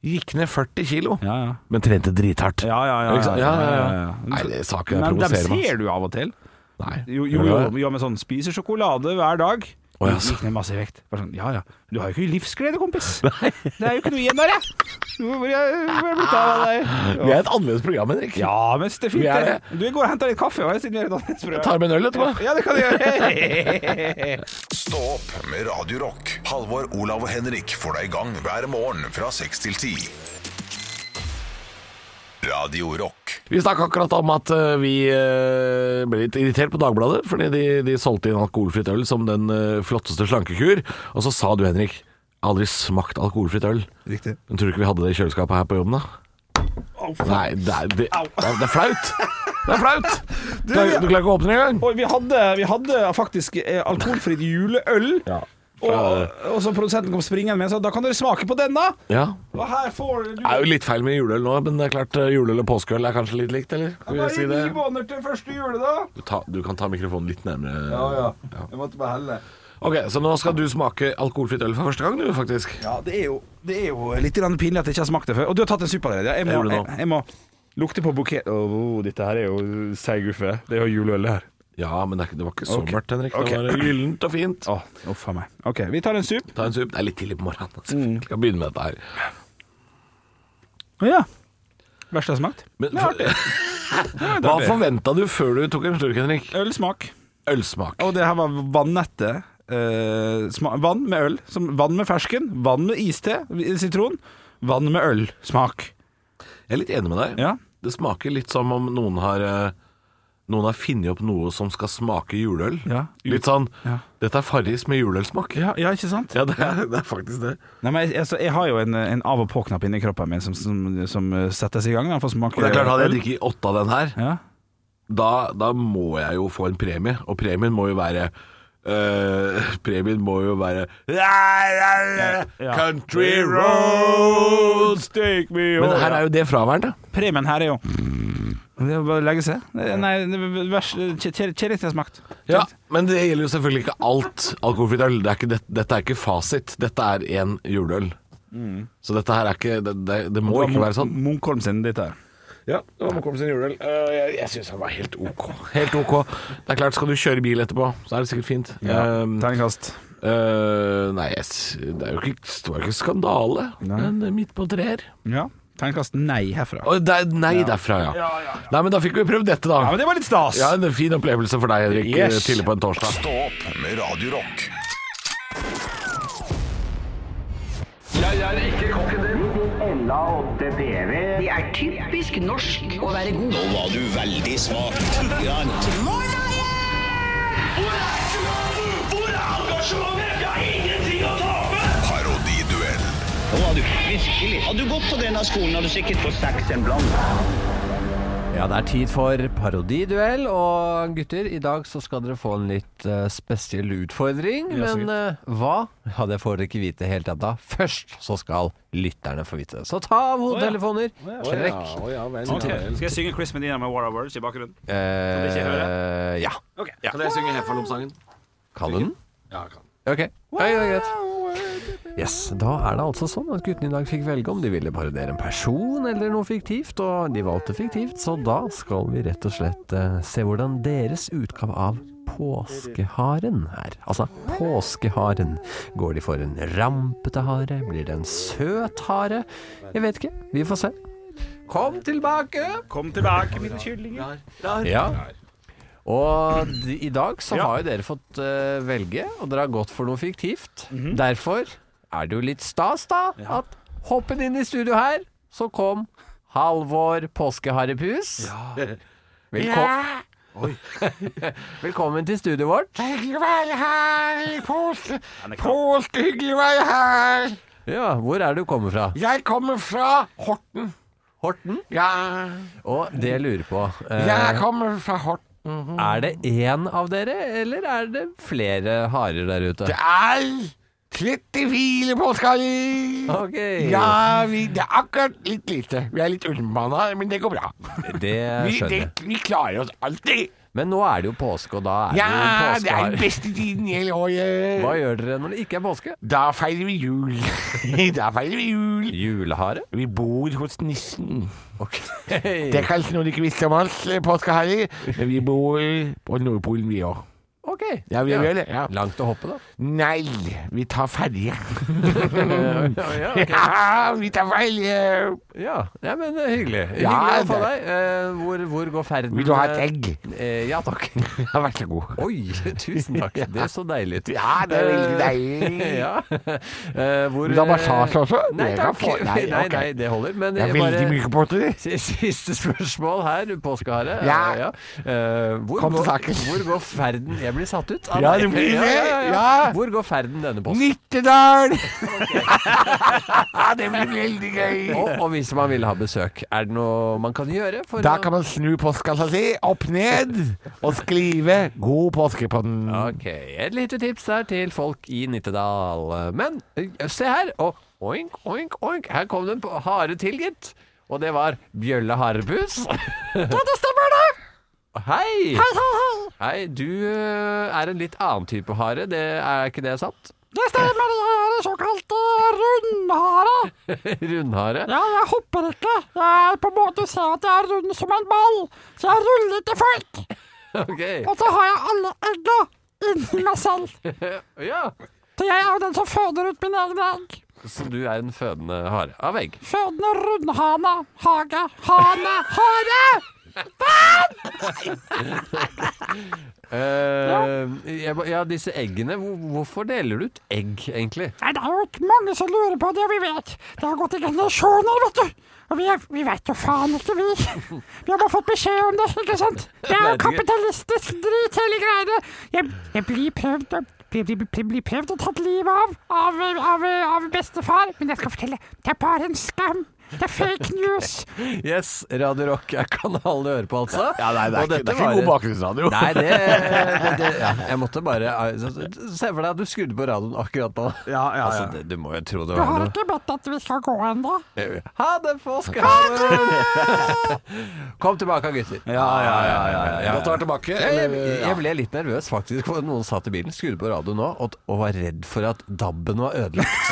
Speaker 3: Gikk ned 40 kilo.
Speaker 5: Ja, ja.
Speaker 3: Men trente drithardt.
Speaker 5: Ja, ja, ja,
Speaker 3: Ikke sant? ja, ja,
Speaker 5: ja, ja.
Speaker 3: Nei, det- saken
Speaker 5: Men dem
Speaker 3: provoserer meg.
Speaker 5: ser du av og til.
Speaker 3: Nei.
Speaker 5: Jo, jo, jo, jo men sånn spiser sjokolade hver dag.
Speaker 3: Å, ja,
Speaker 5: Gikk ned masse i vekt. Bare sånn, ja ja. Du har jo ikke livsglede, kompis. Det er jo ikke noe igjen der, jeg. Hvor er- hvor er det blitt av deg?
Speaker 3: Vi er et annerledes program, Henrik.
Speaker 5: Ja, men det er fint.
Speaker 3: Vi er
Speaker 5: det. Du jeg går og henter litt kaffe. og jeg sitter med et annet
Speaker 3: Tar med en øl etterpå.
Speaker 5: Ja, det kan du gjøre.
Speaker 1: Stå opp med Radio Rock. Halvor, Olav og Henrik får deg i gang hver morgen fra seks til ti. Radio Rock.
Speaker 3: Vi snakka akkurat om at eh, vi eh, ble litt irritert på Dagbladet, fordi de, de solgte inn alkoholfritt øl som den eh, flotteste slankekur. Og så sa du, Henrik, aldri smakt alkoholfritt øl.
Speaker 5: Riktig.
Speaker 3: Men tror du ikke vi hadde det i kjøleskapet her på jobben, da? Nei, det er, det, det er flaut. Det er flaut! Du, klarer- du klarer ikke å åpne det engang.
Speaker 5: Oi, vi hadde, vi hadde faktisk eh, alkoholfritt juleøl. Og, og så produsenten kom springende med og sa da kan dere smake på denne.
Speaker 3: Ja.
Speaker 5: Og her får du
Speaker 3: Det er jo litt feil med juleøl nå, men det er klart eh, juleøl og påskeøl er kanskje litt likt, eller? Skal vi
Speaker 5: bare
Speaker 3: si det?
Speaker 5: ni måneder til første juledag.
Speaker 3: Du, ta, du kan ta mikrofonen litt nærmere.
Speaker 5: Ja, ja. Jeg måtte bare helle.
Speaker 3: Ok, Så nå skal du smake alkoholfritt øl for første gang, du, faktisk.
Speaker 5: Ja, det er jo, det er jo litt grann pinlig at jeg ikke har smakt det før. Og du har tatt en suppe allerede. ja. Jeg må,
Speaker 3: Jeg gjorde det nå.
Speaker 5: jeg, jeg må lukte på bukett Å, oh, dette her er jo seig guffe. Det er jo juleøl, det her.
Speaker 3: Ja, men det er, ikke- det var ikke så
Speaker 5: Ok.
Speaker 3: mørkt, Henrik. Det
Speaker 5: Ok.
Speaker 3: var gyllent og fint.
Speaker 5: Å, uff a meg. OK, vi tar en sup.
Speaker 3: Ta en sup. Det er litt tidlig på morgenen. Altså. Vi skal begynne med dette her.
Speaker 5: Å ja. Verste jeg har smakt?
Speaker 3: Men, hva forventa du før du tok en slurk, Henrik?
Speaker 5: Ølsmak.
Speaker 3: Ølsmak.
Speaker 5: Og det her var vannette. eh, sma- vann med øl. Som, vann med fersken. Vann med iste. Sitron. Vann med øl. Smak.
Speaker 3: Jeg er litt enig med deg.
Speaker 5: Ja.
Speaker 3: Det smaker litt som om noen har eh, noen har funnet opp noe som skal smake juleøl.
Speaker 5: Ja.
Speaker 3: Litt sånn
Speaker 5: Ja.
Speaker 3: 'Dette er Farris med juleølsmak'.
Speaker 5: Ja, ikke sant?
Speaker 3: Ja, det er, det er faktisk det.
Speaker 5: Nei, men jeg, altså, jeg har jo en, en av og på-knapp inni kroppen min som, som, som eh, settes i gang når jeg får smake
Speaker 3: Og det er klart Hadde jeg
Speaker 5: øl.
Speaker 3: drukket åtte av den her,
Speaker 5: Ja.
Speaker 3: da, da må jeg jo få en premie. Og premien må jo være eh, premien må jo være
Speaker 5: Ja.
Speaker 3: Country roads
Speaker 5: Take me
Speaker 3: Men her er jo det fraværende.
Speaker 5: Premien her er jo Det er bare å legge seg. Nei, det er vers- kje- kje- kjedelig til jeg har smakt.
Speaker 3: Ja, men det gjelder jo selvfølgelig ikke alt alkoholfritt øl. Det er ikke, det, dette er ikke fasit. Dette er én juleøl. Så dette her er ikke Det, det, Mm. det må ikke være sånn.
Speaker 5: Munkholm sin ditt her.
Speaker 3: Ja, det var Mokommen sin juleøl. Eh, jeg jeg syns den var helt ok. Helt ok. Det er klart, skal du kjøre bil etterpå, så er det sikkert fint. Ehm,
Speaker 5: Terningkast.
Speaker 3: eh, nei, jeg, s- det er jo ikke, det står ikke skandale, men eh, midt på treer.
Speaker 5: Ja. Terningkast nei herfra.
Speaker 3: Å, det er- nei derfra, ja. Nei, men da fikk vi prøvd dette, da.
Speaker 5: Ja, men det var litt stas!
Speaker 3: Ja, en fin opplevelse for deg, Henrik, eh,
Speaker 5: Yes.
Speaker 3: tidlig på en torsdag.
Speaker 1: Stå opp med Radio Rock. Parodiduell.
Speaker 4: Ja, det er tid for parodiduell, og gutter, i dag så skal dere få en litt eh, spesiell utfordring.
Speaker 5: Ja, så
Speaker 4: men eh, hva? Ja, det får dere ikke vite helt ennå. Først så skal lytterne få vite det. Så ta av hodetelefoner, trekk
Speaker 5: Skal jeg synge Chris Medina med War of Words i bakgrunnen?
Speaker 4: eh,
Speaker 5: vi ikke høre?
Speaker 4: Ja.
Speaker 8: Kan jeg synge Heffalom-sangen?
Speaker 4: Kan du den?
Speaker 8: Ja, jeg kan.
Speaker 4: Ok. Ja, ja, greit. Yes, Da er det altså sånn at guttene i dag fikk velge om de ville parodiere en person eller noe fiktivt, og de valgte fiktivt, så da skal vi rett og slett eh, se hvordan deres utgave av påskeharen er. Altså påskeharen. Går de for en rampete hare? Blir det en søt hare? Jeg vet ikke. Vi får se. Kom tilbake!
Speaker 5: Kom tilbake, mine kyllinger.
Speaker 4: Ja. Og de, i dag så har jo dere fått eh, velge, og dere har gått for noe fiktivt. Derfor er det jo litt stas, da, at hoppen inn i studio her, så kom Halvor Påskeharrepus. Velko Velkommen til studioet vårt.
Speaker 3: Hyggelig å være her. Påske, påske hyggelig å være her.
Speaker 4: Ja, Hvor er det du kommer fra?
Speaker 3: Jeg kommer fra Horten.
Speaker 4: Horten?
Speaker 3: Ja,
Speaker 4: Og det jeg lurer på, eh,
Speaker 3: jeg kommer fra Horten.
Speaker 4: er det én av dere, eller er det flere harer der ute?
Speaker 3: Det er 34 påskeharer.
Speaker 4: Ok,
Speaker 3: Ja, vi, det er akkurat litt lite. Vi er litt underbemanna, men det går bra.
Speaker 4: det
Speaker 3: Vi,
Speaker 4: skjønner
Speaker 3: det,
Speaker 4: jeg.
Speaker 3: vi klarer oss alltid.
Speaker 4: Men nå er det jo påske, og da er
Speaker 3: Ja,
Speaker 4: det
Speaker 3: det
Speaker 4: jo
Speaker 3: er den
Speaker 4: påskehare.
Speaker 3: beste tiden i hele året.
Speaker 4: Hva gjør dere når det ikke er påske?
Speaker 3: Da feirer vi jul. da feirer vi jul.
Speaker 4: Julehare?
Speaker 3: Vi bor hos nissen.
Speaker 4: Ok.
Speaker 3: Det er kanskje noe du ikke visste om oss, eh, påskeharer, men vi bor på Nordpolen, vi òg.
Speaker 4: Ok.
Speaker 3: Ja, vi gjør det, ja.
Speaker 4: Langt å hoppe, da.
Speaker 3: Nei, vi tar ferje. ja, vi tar ferje.
Speaker 4: Ja, ja men eh, hyggelig.
Speaker 3: Ja,
Speaker 4: hyggelig å få
Speaker 3: det-
Speaker 4: deg. Eh, hvor, hvor går ferden?
Speaker 3: Vil du ha et egg?
Speaker 4: Eh, ja takk.
Speaker 3: Ja, vær så god.
Speaker 4: Oi, tusen takk. Det så deilig ut.
Speaker 3: Ja, det er veldig deilig.
Speaker 4: ja. Eh, hvor,
Speaker 3: Vil du ha massasje også?
Speaker 4: Nei
Speaker 3: Jeg kan
Speaker 4: takk.
Speaker 3: få-
Speaker 4: Nei,
Speaker 3: nei,
Speaker 4: nei,
Speaker 3: ok.
Speaker 4: det holder. Men
Speaker 3: Det er
Speaker 4: jeg bare
Speaker 3: veldig mye potter.
Speaker 4: Si- Siste spørsmål her, påskeharet.
Speaker 3: Ja.
Speaker 4: Eh, Eh, hvor,
Speaker 3: Kom til
Speaker 4: går,
Speaker 3: saken.
Speaker 4: hvor går ferden Jeg blir satt ut. av
Speaker 3: Ja,
Speaker 4: deg.
Speaker 3: du blir det. Ja.
Speaker 4: Hvor går ferden denne påsken?
Speaker 3: Nittedal! det blir veldig gøy.
Speaker 4: Og, og hvis man vil ha besøk, er det noe man kan gjøre? For
Speaker 3: Da
Speaker 4: å-
Speaker 3: kan man snu postkassa si opp ned og skrive 'God påske' på den.
Speaker 4: Ok, et lite tips der til folk i Nittedal. Men ø, se her, og oink, oink, oink, her kom den på hare til, gitt. Og det var Bjølle Harepus. ja, det stemmer det! Hei! Hei, hei, hei! Hei, du ø, er en litt annen type hare, det er ikke det sant? Det stemmer, det er en såkalt eh, rundhare. rundhare? Ja, jeg hopper ikke. Jeg på en måte ser at jeg er rund som en ball, så jeg ruller til folk. Ok.
Speaker 9: Og så har jeg alle egga inni meg selv.
Speaker 4: Ja,
Speaker 9: Så jeg er jo den som føder ut mine egne egg.
Speaker 4: Så du er en fødende hare av egg?
Speaker 9: Fødende rundhane, hage, hane, hare!
Speaker 4: Eh, jeg, ba- ja, disse eggene. Hvor, hvorfor deler du ut egg, egentlig?
Speaker 9: Nei, det er jo ikke mange som lurer på det, vi vet. Det har gått i generasjoner, vet du. Og vi, er- vi vet jo faen ikke, vi. Vi har bare fått beskjed om det, ikke sant? Det er jo
Speaker 4: Vet ikke.
Speaker 9: kapitalistisk drit, hele greiene. Jeg, jeg blir prøvd å blir, blir, blir, blir prøvd å tatt livet av, av, av, av bestefar. Men jeg skal fortelle, det er bare en skam. Det er fake news.
Speaker 4: Yes, Radio Rock er kanalen du hører på, altså.
Speaker 3: Ja, nei, det er
Speaker 4: Og
Speaker 3: ikke-
Speaker 4: dette
Speaker 3: det er ikke
Speaker 4: var-
Speaker 3: god bakgrunnsradio.
Speaker 4: Nei, det, det, det ja, Jeg måtte bare Se for deg at du skrudde på radioen akkurat nå.
Speaker 5: Ja, ja, ja.
Speaker 4: Altså, det, du må jo tro det
Speaker 9: Du
Speaker 4: var
Speaker 9: har
Speaker 4: noe.
Speaker 9: ikke bedt at vi skal gå ennå.
Speaker 4: Ha det, påskeharen! Kom tilbake, gutter.
Speaker 5: Ja, ja, ja, ja, ja, ja.
Speaker 3: Godt å være tilbake.
Speaker 4: Jeg,
Speaker 3: Eller,
Speaker 4: jeg ble litt nervøs faktisk for noen satt i bilen, skrudde på radioen nå og, og var redd for at DAB-en var ødelagt.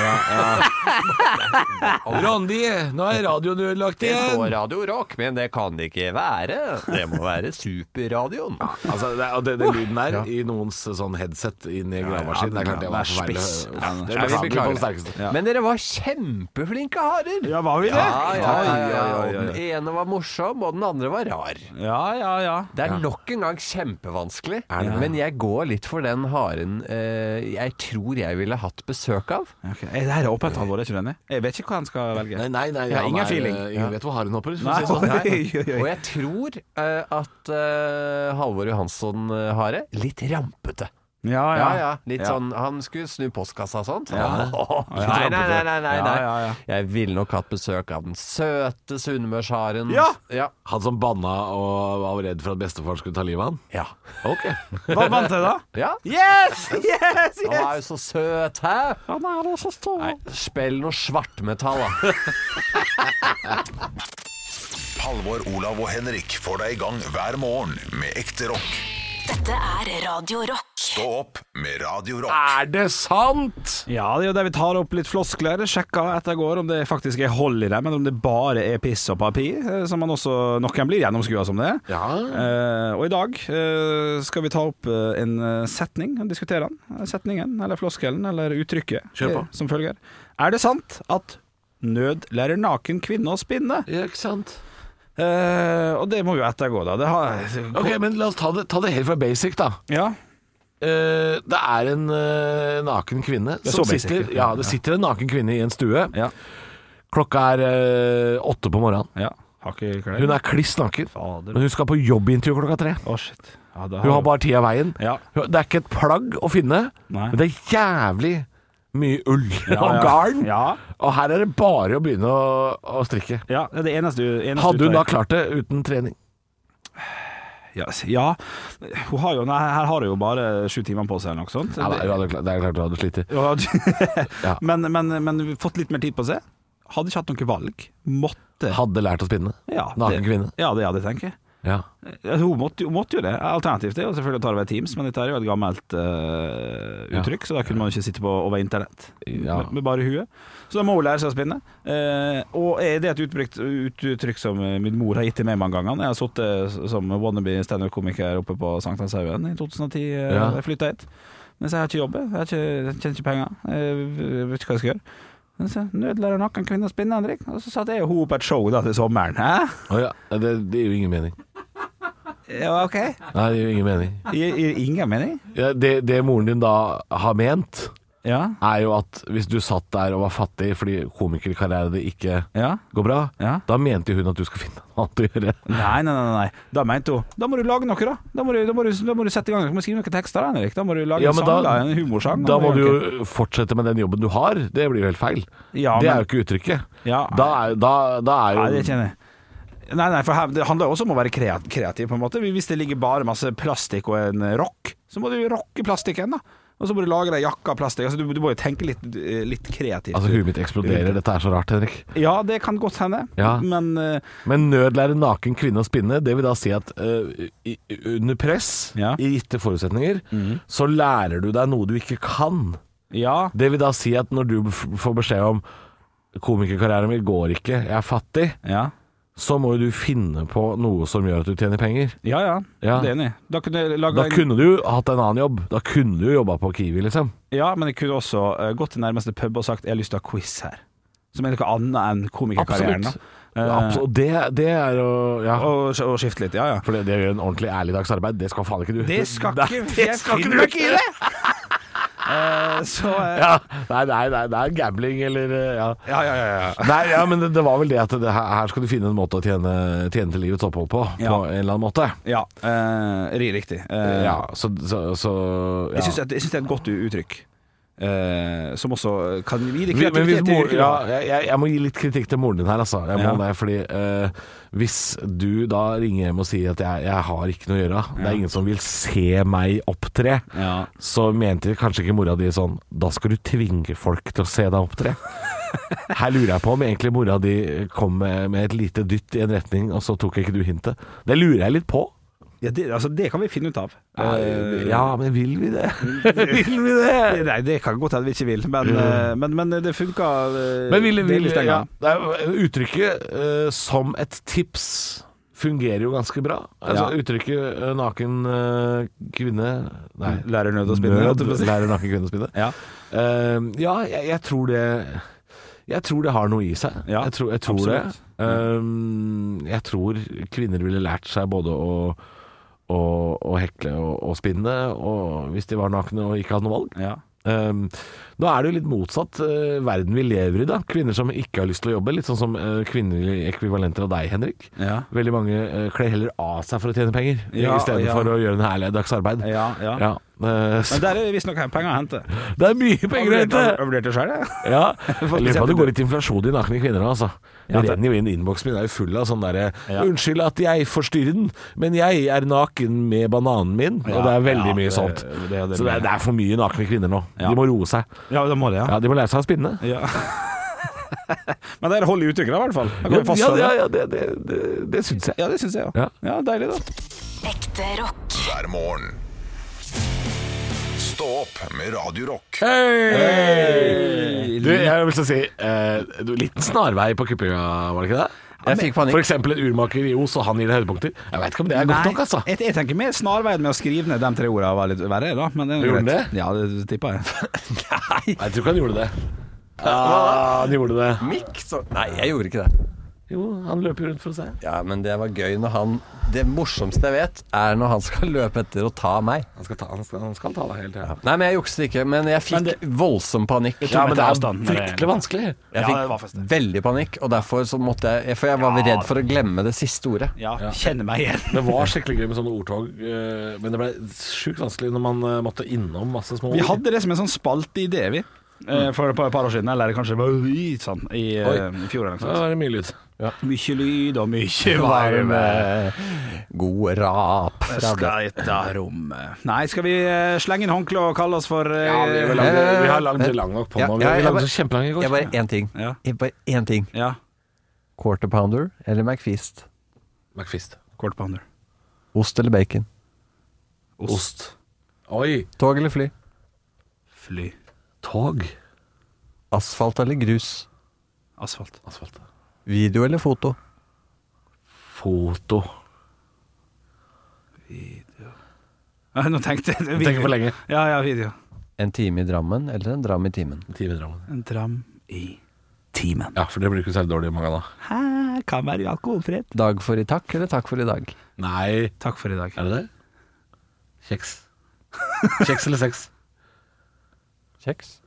Speaker 3: Randi, nå er radioen ødelagt
Speaker 4: Det står Radio Rock, men det kan det ikke være. Det må være superradioen.
Speaker 3: Altså, det, og den, den lyden der i noens sånn headset inn i gravemaskinen, det er klart det var forferdelig.
Speaker 5: spiss.
Speaker 3: hø-
Speaker 5: Ja,
Speaker 3: Det
Speaker 5: ja,
Speaker 3: er
Speaker 5: vi
Speaker 3: beklagelig på det sterkeste.
Speaker 5: Ja.
Speaker 4: Men dere var kjempeflinke harer.
Speaker 5: Ja, var vi det?
Speaker 4: Ja, ja, ja, ja,
Speaker 5: Oi, oi,
Speaker 4: Og Den ene var morsom, og den andre var rar.
Speaker 5: oi. ja, ja, ja.
Speaker 4: Det er nok en gang kjempevanskelig,
Speaker 3: Er det det?
Speaker 4: men jeg går litt for den haren eh, jeg tror jeg ville hatt besøk av.
Speaker 5: Ok, eh, Det her er åpent alvor, er ikke du enig? Jeg vet ikke hva han skal velge.
Speaker 3: Nei, nei, nei.
Speaker 5: Ja,
Speaker 3: han
Speaker 5: ingen
Speaker 3: er,
Speaker 5: feeling.
Speaker 3: eh, Ingen vet hvor haren hopper. for å
Speaker 5: Nei,
Speaker 3: si det sånn.
Speaker 5: oi, oi, oi.
Speaker 4: Og jeg tror eh, at eh, Halvor Johansson eh, Hare litt rampete.
Speaker 5: Ja,
Speaker 4: Ja, ja. Litt
Speaker 5: Ja.
Speaker 4: sånn Han skulle snu postkassa og sånt.
Speaker 5: Ja.
Speaker 4: Nei, nei, nei, nei, nei, nei.
Speaker 5: Ja, ja, ja.
Speaker 4: Jeg ville nok hatt besøk av den søte sunnmørsharen.
Speaker 5: Ja!
Speaker 4: ja!
Speaker 3: Han som banna og var redd for at bestefaren skulle ta livet av han.
Speaker 4: Ja.
Speaker 3: Ok.
Speaker 5: Hva vant jeg da?
Speaker 4: ja.
Speaker 5: Yes! Yes!
Speaker 4: Han er jo så søt, hæ?
Speaker 9: Han er også stor.
Speaker 4: Nei, spill noe svartmetall, da.
Speaker 1: Halvor, Olav og Henrik får deg i gang hver morgen med ekte rock.
Speaker 2: Dette er Radio Rock.
Speaker 1: Stå opp med Radio Rock.
Speaker 3: Er det sant?!
Speaker 5: Ja, det er jo der vi tar opp litt floskler, sjekker etter går om det faktisk er hold i dem, eller om det bare er piss og papir, eh, som man også noen blir gjennomskua som det.
Speaker 3: Ja.
Speaker 5: Eh, og i dag eh, skal vi ta opp eh, en eh, setning og diskutere den. Eh, Setningen, eller floskelen, eller uttrykket
Speaker 3: Kjør på.
Speaker 5: eh, som følger. Er det sant at nød lærer naken kvinne å spinne?
Speaker 3: Ja, ikke sant.
Speaker 5: Eh, og det må jo ettergå, da. Det har
Speaker 3: Ok, men la oss ta det, ta det helt fra basic, da.
Speaker 5: Ja.
Speaker 3: Eh, det er en eh, naken kvinne
Speaker 5: er
Speaker 3: som
Speaker 5: så basic,
Speaker 3: sitter
Speaker 5: ja.
Speaker 3: Ja, det sitter en naken kvinne i en stue.
Speaker 5: Ja.
Speaker 3: Klokka er eh, åtte på morgenen.
Speaker 5: ja. Har ikke klær.
Speaker 3: Hun er kliss naken.
Speaker 5: Fader.
Speaker 3: Men hun skal på jobbintervju klokka tre.
Speaker 5: Å, shit. Ja, da
Speaker 3: Hun har bare tida veien.
Speaker 5: Ja.
Speaker 3: Hun- Det er ikke et plagg å finne,
Speaker 5: Nei.
Speaker 3: men det er jævlig mye ull og
Speaker 5: ja.
Speaker 3: garn.
Speaker 5: Ja.
Speaker 3: Og her er det bare å begynne å, å strikke.
Speaker 5: Ja, det er det eneste, eneste
Speaker 3: Hadde hun
Speaker 5: utvei.
Speaker 3: da klart det uten trening?
Speaker 5: Ja, s- ja. Hun har jo, nei, her har hun jo bare sju timer på seg eller noe sånt.
Speaker 3: Ja, da, hun hadde, kla- det er klart hun hadde slitt.
Speaker 5: Hun hadde-
Speaker 3: Ja.
Speaker 5: men, men, men fått litt mer tid på seg. Hadde ikke hatt noe valg. Måtte
Speaker 3: Hadde lært å spinne.
Speaker 5: ja,
Speaker 3: Naken
Speaker 5: det-
Speaker 3: kvinne.
Speaker 5: Ja, det, ja, det tenker jeg.
Speaker 3: Ja.
Speaker 5: Altså, Hun måtte, hun måtte jo det. Alternativt er jo selvfølgelig å ta det ved Teams, men dette er jo et gammelt eh, uttrykk, så da kunne man jo ikke sitte på over internett
Speaker 3: Ja.
Speaker 5: med, med bare huet. Så da må hun lære seg å spinne. Eh, og er det et utbrukt, ut, uttrykk som eh, min mor har gitt til meg mange ganger? Jeg har sittet som wannabe standup-komiker oppe på Sankthanshaugen i 2010, eh,
Speaker 3: Ja.
Speaker 5: jeg flytta hit. Men så jeg har ikke jobb, jeg, har ikke, jeg tjener ikke penger, jeg vet ikke hva jeg skal gjøre. Men så nødlærer naken kvinne å spinne, Henrik. Og så satt jeg og hun på et show da til sommeren. Hæ?
Speaker 3: Å ja. Det, det gir jo ingen mening.
Speaker 5: Ja, ok.
Speaker 3: Nei, det gir jo ingen mening.
Speaker 5: Gir gir ingen mening?
Speaker 3: Ja, det, det moren din da har ment,
Speaker 5: Ja.
Speaker 3: er jo at hvis du satt der og var fattig fordi komikerkarrieren din ikke
Speaker 5: Ja.
Speaker 3: går bra,
Speaker 5: Ja.
Speaker 3: da mente hun at du skal finne noe annet å gjøre.
Speaker 5: Nei, nei, nei, nei. Da mente hun Da må du lage noe, da. Da må du, da må du, da må du sette i gang Da må du skrive noen tekster, da, Henrik. Da må du lage
Speaker 3: Ja,
Speaker 5: en
Speaker 3: men
Speaker 5: sang, da,
Speaker 3: da-
Speaker 5: en humorsang.
Speaker 3: Da må
Speaker 5: gjøre
Speaker 3: du
Speaker 5: noe.
Speaker 3: jo fortsette med den jobben du har. Det blir jo helt feil.
Speaker 5: Ja,
Speaker 3: det
Speaker 5: men-
Speaker 3: er jo ikke uttrykket.
Speaker 5: Ja.
Speaker 3: Da er, da, da er jo
Speaker 5: Nei, det kjenner jeg. Nei, nei, for her, Det handler jo også om å være kreat kreativ, på en måte. Hvis det ligger bare masse plastikk og en rock, så må du jo rocke plastikken, da. Og så må du lage deg jakke av plastikk. Altså, du, du må jo tenke litt, eh, litt kreativt.
Speaker 3: Altså, huet mitt eksploderer. Dette er så rart, Henrik.
Speaker 5: ja, det kan godt hende,
Speaker 3: Ja.
Speaker 5: men eh,
Speaker 3: Men nødlære naken kvinne å spinne, det vil da si at eh, i, under press,
Speaker 5: Ja. Mm.
Speaker 3: i gitte forutsetninger, så lærer du deg noe du ikke kan.
Speaker 5: ja.
Speaker 3: Det vil da si at når du f- får beskjed om komikerkarrieren min går ikke, jeg er fattig,
Speaker 5: Ja.
Speaker 3: så må jo du finne på noe som gjør at du tjener penger.
Speaker 5: Ja, ja,
Speaker 3: Ja.
Speaker 5: det er enig. Da kunne jeg lage
Speaker 3: Da
Speaker 5: en-
Speaker 3: kunne du hatt en annen jobb. Da kunne du jobba på Kiwi, liksom.
Speaker 5: Ja, men jeg kunne også eh, gått til nærmeste pub og sagt 'jeg har lyst til å ha quiz her'. Som er noe annet enn komikerkarrieren. da.
Speaker 3: Absolutt.
Speaker 5: Eh.
Speaker 3: Abs- Og det, det er å Ja.
Speaker 5: Og, og skifte litt, ja ja.
Speaker 3: For det, det gjør en ordentlig ærlig dags arbeid. Det skal faen ikke du.
Speaker 5: Det skal
Speaker 3: Nei,
Speaker 5: ikke
Speaker 3: det
Speaker 5: Jeg
Speaker 3: skal ikke
Speaker 5: finner
Speaker 3: du
Speaker 5: meg ikke i det! Eh, så eh,
Speaker 3: Ja. Nei, nei, nei, det er gambling eller eh, ja.
Speaker 5: ja, ja, ja, ja.
Speaker 3: Nei, ja, men det, det var vel det at det, her, her skal du finne en måte å tjene, tjene til livets opphold på. På
Speaker 5: Ja.
Speaker 3: en eller annen måte.
Speaker 5: ja eh, ri riktig. Eh,
Speaker 3: Ja, så, så, så ja.
Speaker 5: Jeg syns det er et godt uttrykk. eh, som også kan gi deg
Speaker 3: Vi- Men hvis
Speaker 5: kreativitet til
Speaker 3: mor,
Speaker 5: yrket.
Speaker 3: ja,
Speaker 5: da.
Speaker 3: jeg, jeg- jeg må gi litt kritikk til moren din her, altså. Jeg må
Speaker 5: Ja.
Speaker 3: det, fordi eh, hvis du da ringer hjem og sier at jeg, jeg har ikke noe å gjøre, det er ingen som vil se meg opptre,
Speaker 5: Ja.
Speaker 3: så mente kanskje ikke mora di sånn Da skal du tvinge folk til å se deg opptre. Her lurer jeg på om egentlig mora di kom med, med et lite dytt i en retning, og så tok ikke du hintet. Det lurer jeg litt på.
Speaker 5: Ja, det, altså, det kan vi finne ut av. Eh,
Speaker 3: Ja, men vil vi det?
Speaker 5: Vil vi det? Nei, det kan godt hende vi ikke vil, men, eh, men, men det funka
Speaker 3: Mm.
Speaker 5: eh,
Speaker 3: Men vil, vil,
Speaker 5: delvis den
Speaker 3: ja,
Speaker 5: gangen.
Speaker 3: det er, jo- uttrykket eh, 'som et tips' fungerer jo ganske bra. Altså
Speaker 5: Ja.
Speaker 3: Uttrykket eh, 'naken eh, kvinne' Nei.
Speaker 5: Mm. Lærer nød å spinne, holdt jeg på å si.
Speaker 3: lærer naken kvinne å spinne.
Speaker 5: Ja.
Speaker 3: Eh, ja, jeg, jeg tror det Jeg tror det har noe i seg.
Speaker 5: Ja,
Speaker 3: jeg tror, jeg tror det.
Speaker 5: absolutt.
Speaker 3: Eh, jeg tror kvinner ville lært seg både å å- å hekle og, og spinne, og hvis de var nakne og ikke hadde noe valg.
Speaker 5: Ja.
Speaker 3: Um, nå er det jo litt motsatt eh, verden vi lever i, da. Kvinner som ikke har lyst til å jobbe. Litt sånn som eh, kvinnelige ekvivalenter av deg, Henrik.
Speaker 5: Ja.
Speaker 3: Veldig mange eh, kler heller av seg for å tjene penger,
Speaker 5: Ja, ja.
Speaker 3: istedenfor å gjøre en herlig dags arbeid.
Speaker 5: Ja, ja.
Speaker 3: eh,
Speaker 5: Men
Speaker 3: så
Speaker 5: der er det visstnok penger å hente.
Speaker 3: det er mye penger å hente!
Speaker 5: Jeg vurderte selv, jeg.
Speaker 3: Ja. Jeg Lurer på om det går litt inflasjon i nakne kvinner nå, altså. Det
Speaker 5: Ja, det-
Speaker 3: renner jo inn innboksen min, er jo full av sånn derre
Speaker 5: Ja.
Speaker 3: 'Unnskyld at jeg forstyrrer den, men jeg er naken med bananen min', og det er veldig
Speaker 5: ja,
Speaker 3: mye
Speaker 5: det-
Speaker 3: sånt.
Speaker 5: det er det
Speaker 3: så det er,
Speaker 5: med.
Speaker 3: det er for mye nakne kvinner nå.
Speaker 5: Ja.
Speaker 3: De må roe seg.
Speaker 5: Ja, da må det, ja.
Speaker 3: Ja, De må lære seg å spinne.
Speaker 5: ja. Men det er hold i uttrykket, da, i hvert fall. Da kan vi
Speaker 3: Ja,
Speaker 5: fastslå
Speaker 3: ja,
Speaker 5: det.
Speaker 3: ja, det, det, det, det syns jeg.
Speaker 5: Ja, det syns jeg
Speaker 3: Ja.
Speaker 5: òg. Ja, deilig, da.
Speaker 2: Ekte rock.
Speaker 1: hver morgen. Stå opp med Radio Rock.
Speaker 3: Du, jeg vil så si eh, du, Liten snarvei på kuppinga, var det ikke det?
Speaker 4: Jeg fikk panikk.
Speaker 3: For eksempel en urmaker i Os, og han gir deg høydepunkter. Jeg veit ikke om det er godt nok, altså.
Speaker 5: jeg, jeg tenker mer snarveien med å skrive ned de tre ordene var litt verre, da. Men det er jo
Speaker 3: Gjorde
Speaker 5: greit.
Speaker 3: den det?
Speaker 5: Ja, det tippa jeg.
Speaker 3: Nei, jeg tror ikke han gjorde det. Ah, han gjorde det.
Speaker 4: Mikk, så Nei, jeg gjorde ikke det.
Speaker 3: Jo, han løper jo rundt for å se.
Speaker 4: Ja, men det var gøy når han Det morsomste jeg vet, er når han skal løpe etter og ta meg.
Speaker 3: Han skal ta, han skal, han skal ta deg hele tida.
Speaker 4: Nei, men jeg jukset ikke, men jeg fikk voldsom panikk.
Speaker 3: Ja, men det er
Speaker 5: avstand, men det-
Speaker 3: fryktelig vanskelig.
Speaker 4: Jeg
Speaker 5: Ja, det var
Speaker 4: fikk
Speaker 5: fest, det.
Speaker 4: veldig panikk, og derfor så måtte jeg For jeg var redd for å glemme det siste ordet.
Speaker 5: Ja, kjenner meg igjen.
Speaker 3: Det var skikkelig gøy med sånne ordtog, eh, men det ble sjukt vanskelig når man eh, måtte innom masse små
Speaker 5: Vi
Speaker 3: ord.
Speaker 5: hadde det som en sånn spalteidé, vi. eh, For et par- par år siden, eller kanskje det var litt sånn i, eh,
Speaker 3: Mm. Oi.
Speaker 5: i fjor eller
Speaker 3: Da
Speaker 5: noe sånt.
Speaker 3: var det mye lyd.
Speaker 5: Mykje lyd og mykje varme.
Speaker 4: Varme, Eh, god rap fra det.
Speaker 5: Skal ta rommet Nei, skal vi eh, slenge inn håndkle og kalle oss for eh,
Speaker 3: Ja, vi,
Speaker 4: lang-
Speaker 3: vi har lagd lang nok på
Speaker 4: Ja,
Speaker 3: nå.
Speaker 4: ja,
Speaker 3: Vi
Speaker 4: jeg
Speaker 3: lagde
Speaker 4: bare-
Speaker 3: så kjempelang i går.
Speaker 4: Jeg bare én ting.
Speaker 5: Ja.
Speaker 4: Jeg Eh, bare én ting.
Speaker 5: ja.
Speaker 4: Quarter pounder eller McFeast?
Speaker 3: McFist.
Speaker 5: Quarter pounder.
Speaker 4: Ost eller bacon?
Speaker 10: Ost.
Speaker 8: Oi.
Speaker 4: Tog eller fly?
Speaker 5: Fly.
Speaker 8: Tog.
Speaker 4: Asfalt eller grus?
Speaker 5: Asfalt.
Speaker 8: Asfalt.
Speaker 4: Video eller foto?
Speaker 8: Foto.
Speaker 5: Ja, Nå tenkte jeg video.
Speaker 8: Tenker for lenge.
Speaker 5: Ja, ja, video.
Speaker 4: En time i Drammen eller en dram i timen?
Speaker 8: Time i Drammen.
Speaker 5: En dram i timen.
Speaker 8: Ja, for det blir ikke særlig dårlig i mange da.
Speaker 5: Her kan være alkoholfritt.
Speaker 4: Dag for i takk eller takk for i dag?
Speaker 8: Nei.
Speaker 5: Takk for i dag.
Speaker 8: Er det det? Kjeks. Kjeks eller sex?
Speaker 4: Kjeks.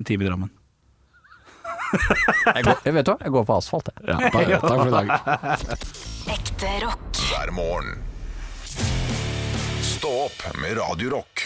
Speaker 5: En time i Drammen.
Speaker 4: Jeg, går, jeg vet hva, jeg går på asfalt, jeg.
Speaker 8: Ja, bare, takk for i dag.
Speaker 2: Ekte rock.
Speaker 1: hver morgen. Stå opp med Radio Rock.